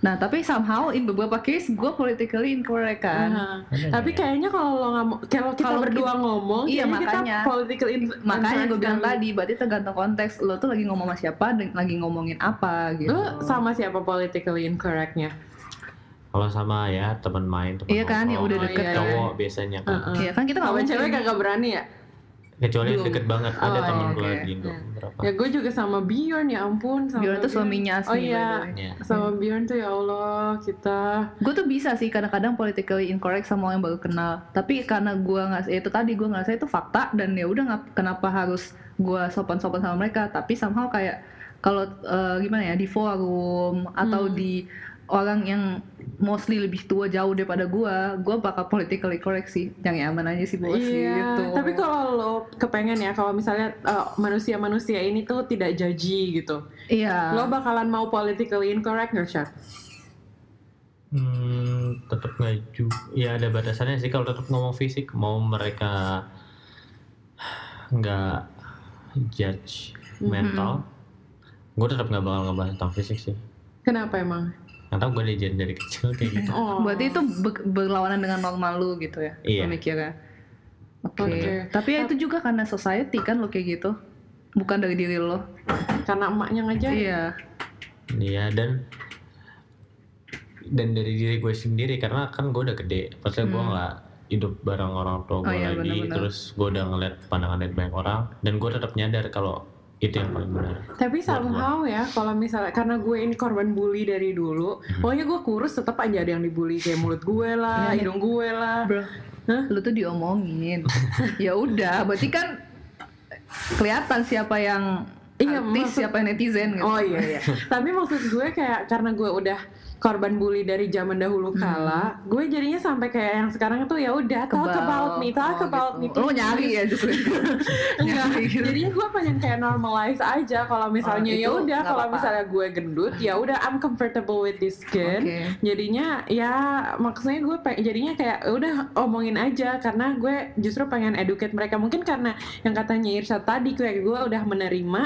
[SPEAKER 3] Nah tapi somehow in beberapa case gue politically incorrect kan.
[SPEAKER 2] Aha. Tapi kayaknya kalau lo nggak mau- kalau kita
[SPEAKER 3] Kalau
[SPEAKER 2] berdua ngomong,
[SPEAKER 3] Iya,
[SPEAKER 2] kayaknya
[SPEAKER 3] makanya.
[SPEAKER 2] kita political in-
[SPEAKER 3] Makanya gue
[SPEAKER 2] incorrect
[SPEAKER 3] bilang
[SPEAKER 2] sekali.
[SPEAKER 3] tadi, berarti tergantung konteks lo tuh lagi ngomong sama siapa dan lagi ngomongin apa gitu.
[SPEAKER 2] Lo Eh, sama siapa politically incorrectnya?
[SPEAKER 4] kalau sama ya teman main teman
[SPEAKER 3] Iya kan, yang
[SPEAKER 4] ngobrol,
[SPEAKER 3] udah
[SPEAKER 2] Oh,
[SPEAKER 3] deket
[SPEAKER 2] iya,
[SPEAKER 3] kan.
[SPEAKER 4] cowok biasanya kan
[SPEAKER 2] Heeh.
[SPEAKER 3] Iya kan kita nggak
[SPEAKER 2] Kalau
[SPEAKER 3] mungkin-
[SPEAKER 2] cewek kagak berani ya?
[SPEAKER 4] kecuali yang
[SPEAKER 2] Belum.
[SPEAKER 4] deket banget
[SPEAKER 2] Oh,
[SPEAKER 4] ada
[SPEAKER 2] iya,
[SPEAKER 4] teman gue
[SPEAKER 3] oke.
[SPEAKER 4] di Indo
[SPEAKER 2] Iya.
[SPEAKER 4] berapa
[SPEAKER 2] Ya gue juga sama Bjorn ya ampun. Sama
[SPEAKER 3] Bjorn tuh suaminya
[SPEAKER 2] Oh
[SPEAKER 3] Asmi, by
[SPEAKER 2] iya.
[SPEAKER 3] the way. Hmm.
[SPEAKER 4] Iya.
[SPEAKER 2] Sama Bjorn tuh ya Allah kita.
[SPEAKER 3] Gue tuh bisa sih kadang-kadang politically incorrect sama orang yang baru kenal. Tapi karena gue nggak, ya itu tadi gue ngerasa itu fakta dan ya udah nggak- kenapa harus gue sopan-sopan sama mereka. Tapi somehow kayak kalau eh, gimana ya di forum atau
[SPEAKER 2] Hmm.
[SPEAKER 3] di orang yang mostly lebih tua jauh daripada gue, gue bakal politically correct sih. Yang aman aja sih bos gitu.
[SPEAKER 2] Iya, Tapi kalau lo kepengen ya kalau misalnya eh, manusia-manusia ini tuh tidak jaji gitu.
[SPEAKER 3] iya.
[SPEAKER 2] Lo bakalan mau politically incorrect nggak, Syar?
[SPEAKER 4] Hmm, tetap ngaju. Ya ada batasannya sih kalau tetap ngomong fisik mau mereka nggak judge mental, gue tetap nggak bakal ngebahas tentang fisik sih.
[SPEAKER 2] Kenapa emang?
[SPEAKER 4] Nggak tahu gue diajarin dari kecil kayak
[SPEAKER 3] Iya.
[SPEAKER 4] gitu.
[SPEAKER 2] Oh.
[SPEAKER 3] Berarti itu be- berlawanan dengan norma lu gitu ya
[SPEAKER 4] Iya.
[SPEAKER 3] pemikirannya. Oke.
[SPEAKER 2] Oke.
[SPEAKER 3] Tapi ya itu juga karena society kan lo kayak gitu. Bukan dari diri lo.
[SPEAKER 2] karena emaknya ngajarin.
[SPEAKER 3] Iya.
[SPEAKER 4] Iya dan dan dari diri gue sendiri karena kan gue udah gede, maksudnya gue
[SPEAKER 3] Hmm.
[SPEAKER 4] nggak hidup bareng orang tua
[SPEAKER 3] Oh
[SPEAKER 4] gue
[SPEAKER 3] iya,
[SPEAKER 4] lagi,
[SPEAKER 3] benar-benar.
[SPEAKER 4] terus gue udah ngeliat pandangan dari banyak orang dan gue tetap nyadar kalau itu yang paling benar.
[SPEAKER 2] Tapi somehow ya, kalau misalnya karena gue ini korban bully dari dulu,
[SPEAKER 4] Hmm.
[SPEAKER 2] pokoknya gue kurus tetap aja ada yang dibully kayak mulut gue lah,
[SPEAKER 3] Iya.
[SPEAKER 2] hidung gue lah.
[SPEAKER 3] Bro.
[SPEAKER 2] Hah?
[SPEAKER 3] Lu tuh diomongin. ya udah, berarti kan kelihatan siapa yang
[SPEAKER 2] Iya,
[SPEAKER 3] artis,
[SPEAKER 2] maksud-
[SPEAKER 3] siapa yang netizen gitu.
[SPEAKER 2] Oh iya iya. Tapi maksud gue kayak karena gue udah korban bully dari zaman dahulu
[SPEAKER 3] Hmm.
[SPEAKER 2] kala, gue jadinya sampai kayak yang sekarang tuh ya udah talk about me, talk
[SPEAKER 3] Oh,
[SPEAKER 2] about me.
[SPEAKER 3] gitu. Lo nyari ya justru. nyari. gitu.
[SPEAKER 2] Jadinya gue pengen kayak normalize aja kalau
[SPEAKER 3] Oh,
[SPEAKER 2] misalnya
[SPEAKER 3] itu
[SPEAKER 2] ya udah
[SPEAKER 3] nggak
[SPEAKER 2] kalau
[SPEAKER 3] apa-apa.
[SPEAKER 2] misalnya gue gendut ya udah I'm comfortable with this skin.
[SPEAKER 3] Oke.
[SPEAKER 2] jadinya ya maksudnya gue pe- jadinya kayak "Ya udah omongin aja karena gue justru pengen educate mereka mungkin karena yang katanya Irsa tadi kayak gue udah menerima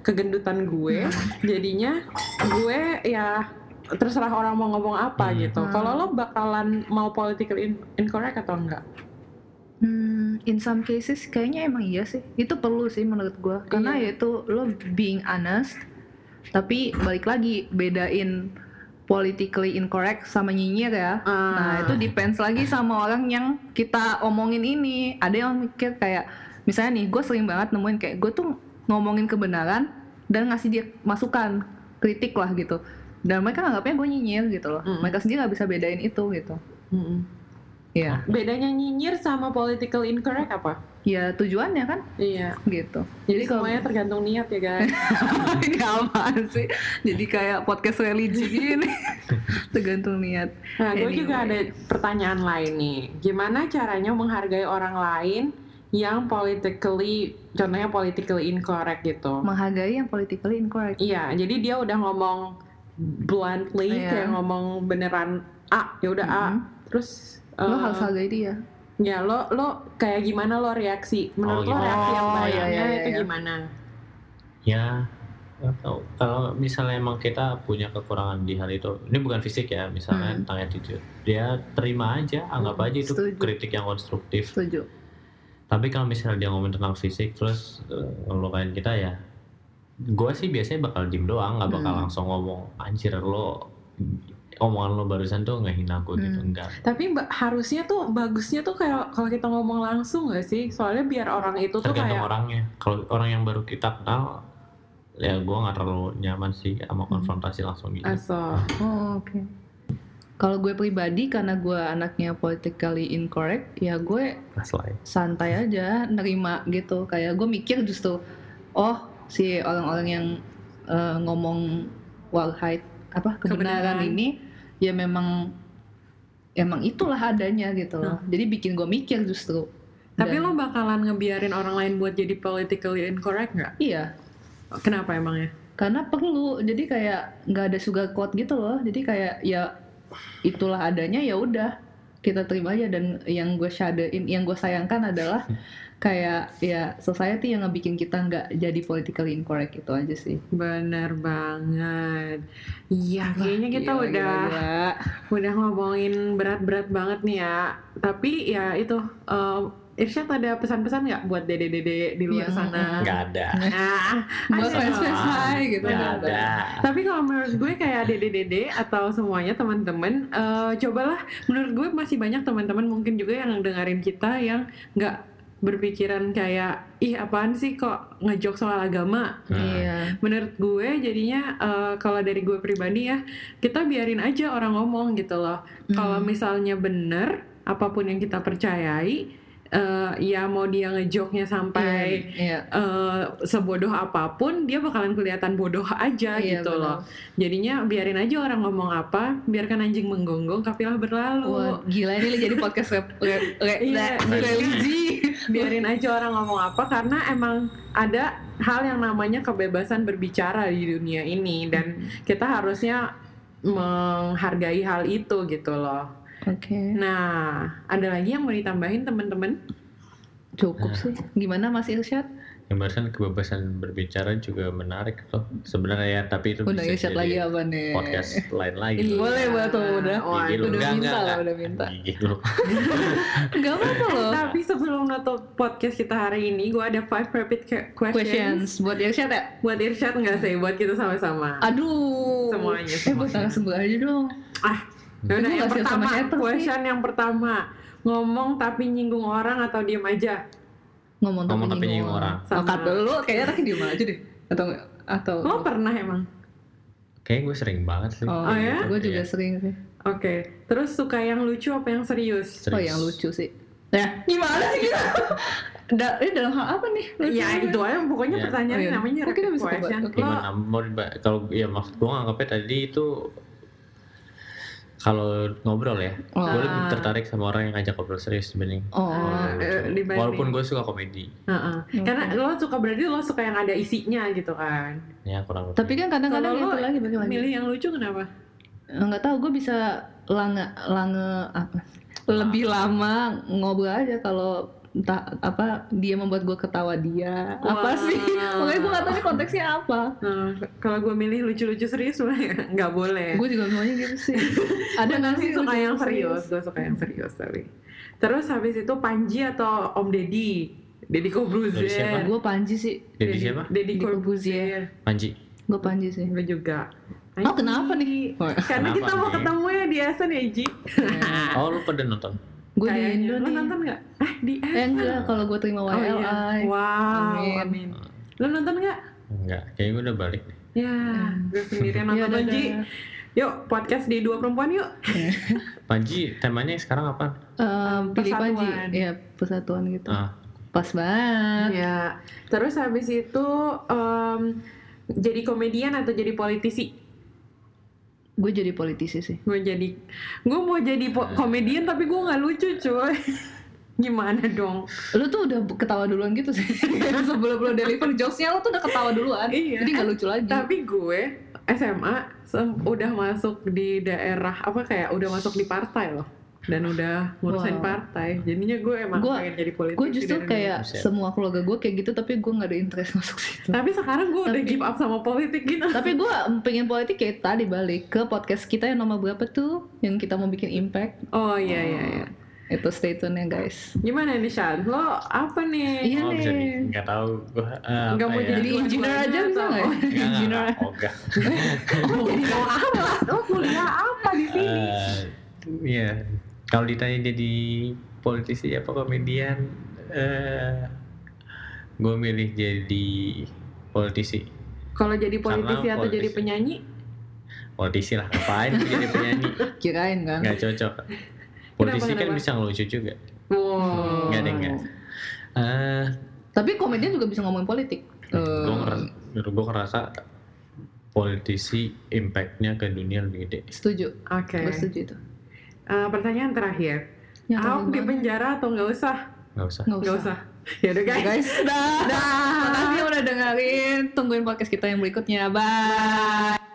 [SPEAKER 2] kegendutan gue jadinya gue ya terserah orang mau ngomong apa
[SPEAKER 4] Hmm.
[SPEAKER 2] gitu
[SPEAKER 3] Hmm.
[SPEAKER 2] kalau lo bakalan mau political in- incorrect atau enggak
[SPEAKER 3] Hmm, in some cases kayaknya emang iya sih. Itu perlu sih menurut gua Karena
[SPEAKER 2] Iya.
[SPEAKER 3] yaitu lo being honest, tapi balik lagi bedain politically incorrect sama nyinyir ya.
[SPEAKER 2] Ah.
[SPEAKER 3] Nah itu depends lagi sama orang yang kita omongin ini. Ada yang mikir kayak misalnya nih gue sering banget nemuin kayak gue tuh ngomongin kebenaran dan ngasih dia masukan kritik lah gitu. Dan mereka anggapnya gue nyinyir gitu loh.
[SPEAKER 2] Mm.
[SPEAKER 3] Mereka sendiri nggak bisa bedain itu gitu.
[SPEAKER 2] Mm-mm. Oh.
[SPEAKER 3] Iya.
[SPEAKER 2] bedanya nyinyir sama political incorrect apa
[SPEAKER 3] Ya tujuannya kan
[SPEAKER 2] iya
[SPEAKER 3] gitu.
[SPEAKER 2] jadi,
[SPEAKER 3] kalau-
[SPEAKER 2] semuanya tergantung niat ya guys
[SPEAKER 3] ini apaan sih? Jadi kayak podcast religi gini. Tergantung niat.
[SPEAKER 2] Nah, gue
[SPEAKER 3] Anyway.
[SPEAKER 2] juga ada pertanyaan lain nih. Gimana caranya menghargai orang lain yang politically, contohnya politically incorrect gitu?
[SPEAKER 3] Menghargai yang politically incorrect.
[SPEAKER 2] Iya, jadi dia udah ngomong
[SPEAKER 3] Iya.
[SPEAKER 2] bluntly,
[SPEAKER 3] Mm-hmm.
[SPEAKER 2] kayak ngomong beneran A, ya udah A. Terus
[SPEAKER 3] Hmm. Lo
[SPEAKER 2] eh,
[SPEAKER 3] harus hargai dia.
[SPEAKER 2] ya lo lo kayak gimana lo reaksi? Menurut lo
[SPEAKER 4] Oh, gitu.
[SPEAKER 2] reaksi yang
[SPEAKER 3] Oh, iya,
[SPEAKER 2] baiknya
[SPEAKER 3] iya, iya,
[SPEAKER 2] itu
[SPEAKER 3] iya.
[SPEAKER 2] gimana?
[SPEAKER 4] Ya atau kalau misalnya emang kita punya kekurangan di hal itu, ini bukan fisik ya misalnya
[SPEAKER 3] Hmm.
[SPEAKER 4] tentang attitude, dia terima aja, anggap aja itu
[SPEAKER 3] Setuju.
[SPEAKER 4] kritik yang konstruktif.
[SPEAKER 3] Setuju.
[SPEAKER 4] Tapi kalau misalnya dia ngomong tentang fisik terus eh, ngelukain kita ya, gue sih biasanya bakal diem doang, nggak bakal
[SPEAKER 3] Hmm.
[SPEAKER 4] langsung ngomong anjir lo omongan lo barusan tuh ngehina gue gitu
[SPEAKER 3] Hmm.
[SPEAKER 4] enggak.
[SPEAKER 2] Tapi ba- harusnya tuh bagusnya tuh kayak kalau kita ngomong langsung gak sih? Soalnya biar orang itu tuh
[SPEAKER 4] Tergantung
[SPEAKER 2] kayak
[SPEAKER 4] orangnya. Kalau orang yang baru kita kenal, ya gue nggak terlalu nyaman sih sama
[SPEAKER 3] Hmm.
[SPEAKER 4] konfrontasi langsung gitu.
[SPEAKER 2] asal.
[SPEAKER 3] Oh, oke. Kalau gue pribadi karena gue anaknya politically incorrect, ya gue
[SPEAKER 4] Pas lah ya.
[SPEAKER 3] santai aja nerima gitu. Kayak gue mikir justru, oh si orang-orang yang eh, ngomong walhide apa kebenaran,
[SPEAKER 2] Kebenaran.
[SPEAKER 3] ini ya memang emang itulah adanya gitu loh. Jadi bikin gue mikir justru.
[SPEAKER 2] Nah. Tapi
[SPEAKER 3] Dan-
[SPEAKER 2] lo bakalan ngebiarin orang lain buat jadi politically incorrect nggak?
[SPEAKER 3] iya
[SPEAKER 2] Kenapa emangnya?
[SPEAKER 3] karena perlu jadi kayak nggak ada sugar coat gitu loh jadi kayak ya itulah adanya ya udah kita terima aja dan yang gue shadein yang gue sayangkan adalah kayak ya society yang ngebikin kita nggak jadi politically incorrect itu aja sih
[SPEAKER 2] Bener banget. Iya,
[SPEAKER 3] Wah,
[SPEAKER 2] kayaknya kita
[SPEAKER 3] gila,
[SPEAKER 2] udah
[SPEAKER 3] gila,
[SPEAKER 2] udah ngomongin berat-berat banget nih ya. Tapi ya itu eh, Irsyad ada pesan-pesan nggak buat dede-dede di luar
[SPEAKER 3] Iya,
[SPEAKER 2] sana?
[SPEAKER 4] Nggak ada.
[SPEAKER 2] Nah,
[SPEAKER 3] gila. buat
[SPEAKER 2] Ada.
[SPEAKER 3] fans fans gitu
[SPEAKER 4] Nggak ada.
[SPEAKER 2] tapi kalau menurut gue kayak dede-dede atau semuanya teman-teman, eh, cobalah. Menurut gue masih banyak teman-teman mungkin juga yang dengerin kita yang nggak berpikiran kayak ih apaan sih kok ngejok soal agama
[SPEAKER 4] Nah,
[SPEAKER 3] iya
[SPEAKER 2] menurut gue jadinya eh, kalau dari gue pribadi ya kita biarin aja orang ngomong gitu loh kalau
[SPEAKER 3] Hmm.
[SPEAKER 2] misalnya bener apapun yang kita percayai eh, ya mau dia ngejoknya sampai
[SPEAKER 3] iya,
[SPEAKER 2] eh, sebodoh apapun dia bakalan kelihatan bodoh aja
[SPEAKER 3] iya,
[SPEAKER 2] gitu
[SPEAKER 3] benar.
[SPEAKER 2] loh jadinya biarin aja orang ngomong apa biarkan anjing menggonggong kafilah
[SPEAKER 3] Wah,
[SPEAKER 2] berlalu
[SPEAKER 3] gila ini jadi podcast rap, re- re-
[SPEAKER 2] Iya,
[SPEAKER 3] re- religi.
[SPEAKER 2] biarin aja orang ngomong apa karena emang ada hal yang namanya kebebasan berbicara di dunia ini dan kita harusnya menghargai hal itu gitu loh.
[SPEAKER 3] Oke,
[SPEAKER 2] Nah, ada lagi yang mau ditambahin teman-teman?
[SPEAKER 3] cukup sih. Gimana Mas Irsyad?
[SPEAKER 4] yang barusan kebebasan berbicara juga menarik loh sebenarnya ya tapi itu
[SPEAKER 3] Udah
[SPEAKER 4] bisa
[SPEAKER 3] ngeset lagi
[SPEAKER 4] jadi
[SPEAKER 3] apa nih?
[SPEAKER 4] podcast lain lagi
[SPEAKER 2] Iya.
[SPEAKER 3] Boleh buat tuh udah. Iya,
[SPEAKER 2] Wah,
[SPEAKER 4] Gigi lu.
[SPEAKER 3] udah
[SPEAKER 4] Enggak,
[SPEAKER 3] minta
[SPEAKER 4] enggak,
[SPEAKER 3] lah, udah minta.
[SPEAKER 4] enggak. Gigi lu.
[SPEAKER 3] Enggak apa-apa loh.
[SPEAKER 2] Tapi sebelum nutup podcast kita hari ini, gue ada five rapid ca- questions.
[SPEAKER 3] Questions buat Irsyad ya?
[SPEAKER 2] Buat Irsyad nggak sih? Buat kita sama-sama.
[SPEAKER 3] Aduh.
[SPEAKER 2] Semuanya,
[SPEAKER 3] Eh buat
[SPEAKER 4] semuanya.
[SPEAKER 3] langsung aja dong.
[SPEAKER 2] Ah, yaudah
[SPEAKER 3] Itu
[SPEAKER 2] yang
[SPEAKER 3] nggak sih
[SPEAKER 2] pertama,
[SPEAKER 3] sama haters
[SPEAKER 2] question yang pertama. Ngomong tapi nyinggung orang atau diem aja?
[SPEAKER 3] Ngomong tapi
[SPEAKER 4] Ngomong tapi
[SPEAKER 3] nyinggung
[SPEAKER 4] nyinggung orang.
[SPEAKER 3] Oh,
[SPEAKER 2] Sama.
[SPEAKER 3] kata lu kayaknya tadi diem aja deh. Atau atau
[SPEAKER 2] Lo pernah emang?
[SPEAKER 4] Kayaknya gue sering banget sih.
[SPEAKER 3] Oh,
[SPEAKER 2] Oh, ya?
[SPEAKER 3] Gue juga
[SPEAKER 4] Iya.
[SPEAKER 3] sering sih.
[SPEAKER 2] Oke. Terus suka yang lucu apa yang serius?
[SPEAKER 4] Serius.
[SPEAKER 3] Oh yang lucu sih. Ya, gimana sih kita? da ini dalam hal apa nih? Lucu
[SPEAKER 2] Ya itu aja pokoknya
[SPEAKER 4] Ya.
[SPEAKER 2] pertanyaan
[SPEAKER 3] Oh, iya.
[SPEAKER 2] namanya
[SPEAKER 3] Oh, kita
[SPEAKER 2] rapid
[SPEAKER 3] bisa coba.
[SPEAKER 2] question.
[SPEAKER 4] Iya,
[SPEAKER 3] Oke.
[SPEAKER 2] Lo
[SPEAKER 4] Gimana mau diba- kalau ya maksud gue nganggapnya tadi itu kalau ngobrol ya,
[SPEAKER 3] Oh.
[SPEAKER 4] gue lebih
[SPEAKER 2] Ah.
[SPEAKER 4] tertarik sama orang yang ngajak ngobrol serius dibanding
[SPEAKER 3] Oh,
[SPEAKER 4] orang
[SPEAKER 2] eh,
[SPEAKER 4] lucu.
[SPEAKER 2] dibanding-
[SPEAKER 4] Walaupun gue suka komedi,
[SPEAKER 2] Heeh. Karena lo suka berarti lo suka yang ada isinya gitu kan.
[SPEAKER 4] ya kurang lebih.
[SPEAKER 3] tapi kan kadang-kadang itu
[SPEAKER 2] Kalau lu
[SPEAKER 3] lagi balik lagi.
[SPEAKER 2] Milih yang lucu kenapa?
[SPEAKER 3] Eh, nggak tahu gue bisa lange lange apa, lebih lama ngobrol aja kalau entah apa dia membuat gue ketawa dia apa
[SPEAKER 2] Wah.
[SPEAKER 3] sih makanya gue nggak tahu ini konteksnya apa
[SPEAKER 2] Nah, kalau gue milih lucu-lucu serius boleh? nggak boleh.
[SPEAKER 3] gue juga semuanya gitu sih ada nggak sih
[SPEAKER 2] Gue suka
[SPEAKER 3] lucu-
[SPEAKER 2] yang serius, gue suka yang serius tapi. Terus habis itu Panji atau Om Deddy? Deddy
[SPEAKER 4] Dari siapa?
[SPEAKER 2] Corbuzier.
[SPEAKER 3] gue panji sih
[SPEAKER 4] Jadi siapa?
[SPEAKER 2] Deddy
[SPEAKER 3] Deddy Corbuzier.
[SPEAKER 2] Corbuzier.
[SPEAKER 4] Panji.
[SPEAKER 3] gue panji sih
[SPEAKER 2] Gue juga.
[SPEAKER 3] Oh, kenapa nih?
[SPEAKER 2] Karena
[SPEAKER 4] Kenapa
[SPEAKER 2] kita mau
[SPEAKER 4] nih?
[SPEAKER 2] ketemu ya di Essen ya Ji.
[SPEAKER 3] Ah.
[SPEAKER 4] Oh lu pada nonton?
[SPEAKER 3] gue di
[SPEAKER 2] Kayaknya.
[SPEAKER 3] Indo
[SPEAKER 2] Lo
[SPEAKER 3] nih.
[SPEAKER 2] nonton nggak? Ah di
[SPEAKER 3] eh
[SPEAKER 2] Essen.
[SPEAKER 3] enggak kalau gue terima
[SPEAKER 2] Oh, iya.
[SPEAKER 3] YLI
[SPEAKER 2] Wow,
[SPEAKER 3] Amin.
[SPEAKER 2] amin. Lo nonton nggak?
[SPEAKER 4] Enggak, kayaknya gue udah balik. deh.
[SPEAKER 2] Ya, gue sendirian
[SPEAKER 3] Ya,
[SPEAKER 2] nonton
[SPEAKER 3] udah,
[SPEAKER 2] dong, Ji.
[SPEAKER 3] udah.
[SPEAKER 2] Yuk, podcast di dua perempuan yuk.
[SPEAKER 4] Panji, temanya sekarang apa?
[SPEAKER 3] Eh, pilih panji
[SPEAKER 2] Persatuan.
[SPEAKER 3] ya persatuan gitu
[SPEAKER 4] Ah.
[SPEAKER 3] pas banget
[SPEAKER 2] Ya, terus habis itu em, jadi komedian atau jadi politisi?
[SPEAKER 3] gue jadi politisi sih
[SPEAKER 2] Gue jadi, gue mau jadi po- komedian tapi gue nggak lucu cuy. Gimana dong?
[SPEAKER 3] lu tuh udah ketawa duluan gitu sih sebelum lo deliver jokesnya lu tuh udah ketawa duluan
[SPEAKER 2] Iya.
[SPEAKER 3] jadi nggak lucu lagi
[SPEAKER 2] Tapi gue SMA se- udah masuk di daerah apa kayak udah masuk di partai loh dan udah
[SPEAKER 3] Wow.
[SPEAKER 2] ngurusin partai. Jadinya gue emang
[SPEAKER 3] Gua-
[SPEAKER 2] pengen jadi politisi.
[SPEAKER 3] gue justru
[SPEAKER 2] dari dulu.
[SPEAKER 3] kayak
[SPEAKER 4] Buset.
[SPEAKER 3] semua keluarga gue kayak gitu tapi gue nggak ada interest masuk situ
[SPEAKER 2] Tapi sekarang gue udah
[SPEAKER 3] Tapi-
[SPEAKER 2] give up sama politik gitu.
[SPEAKER 3] tapi gue pengen politik kayak tadi balik ke podcast kita yang nomor berapa tuh yang kita mau bikin impact
[SPEAKER 2] Oh iya iya iya.
[SPEAKER 3] itu stay tune ya guys
[SPEAKER 2] Gimana nih Shan? Lo apa nih?
[SPEAKER 3] Iya
[SPEAKER 4] oh bisa di,
[SPEAKER 3] nih.
[SPEAKER 4] nggak tahu eh, gue.
[SPEAKER 2] Nggak mau
[SPEAKER 4] ya?
[SPEAKER 3] jadi
[SPEAKER 2] Dua-duanya
[SPEAKER 3] engineer aja bisa
[SPEAKER 2] atau-
[SPEAKER 3] nggak ya? engineer
[SPEAKER 4] Oh enggak.
[SPEAKER 2] Oh, jadi mau apa? Lo kuliah apa di sini?
[SPEAKER 4] Eh, Iya. Kalau ditanya jadi politisi apa komedian, eh gue milih jadi politisi.
[SPEAKER 2] Kalau jadi politisi
[SPEAKER 4] Karena
[SPEAKER 2] atau jadi
[SPEAKER 4] politisi.
[SPEAKER 2] penyanyi?
[SPEAKER 4] Politisi lah, ngapain gua jadi penyanyi?
[SPEAKER 3] kirain kan
[SPEAKER 4] Nggak cocok. Politisi kan
[SPEAKER 2] kenapa?
[SPEAKER 4] bisa ngelucu juga.
[SPEAKER 2] Wow.
[SPEAKER 4] Nggak deh, nggak. Eh,
[SPEAKER 3] tapi komedian juga bisa ngomongin politik
[SPEAKER 4] gue
[SPEAKER 3] Eh,
[SPEAKER 4] ngerasa, gua ngerasa politisi impactnya ke dunia lebih gede.
[SPEAKER 3] setuju
[SPEAKER 2] Oke.
[SPEAKER 3] gue setuju itu
[SPEAKER 2] Eh, pertanyaan terakhir.
[SPEAKER 3] Ya,
[SPEAKER 2] Ahok di
[SPEAKER 3] teman-teman.
[SPEAKER 2] penjara atau nggak usah?
[SPEAKER 4] Nggak usah.
[SPEAKER 2] Nggak usah. Ya udah guys.
[SPEAKER 3] guys dah
[SPEAKER 2] Dah.
[SPEAKER 3] Makasih udah dengerin. Tungguin podcast kita yang berikutnya. Bye.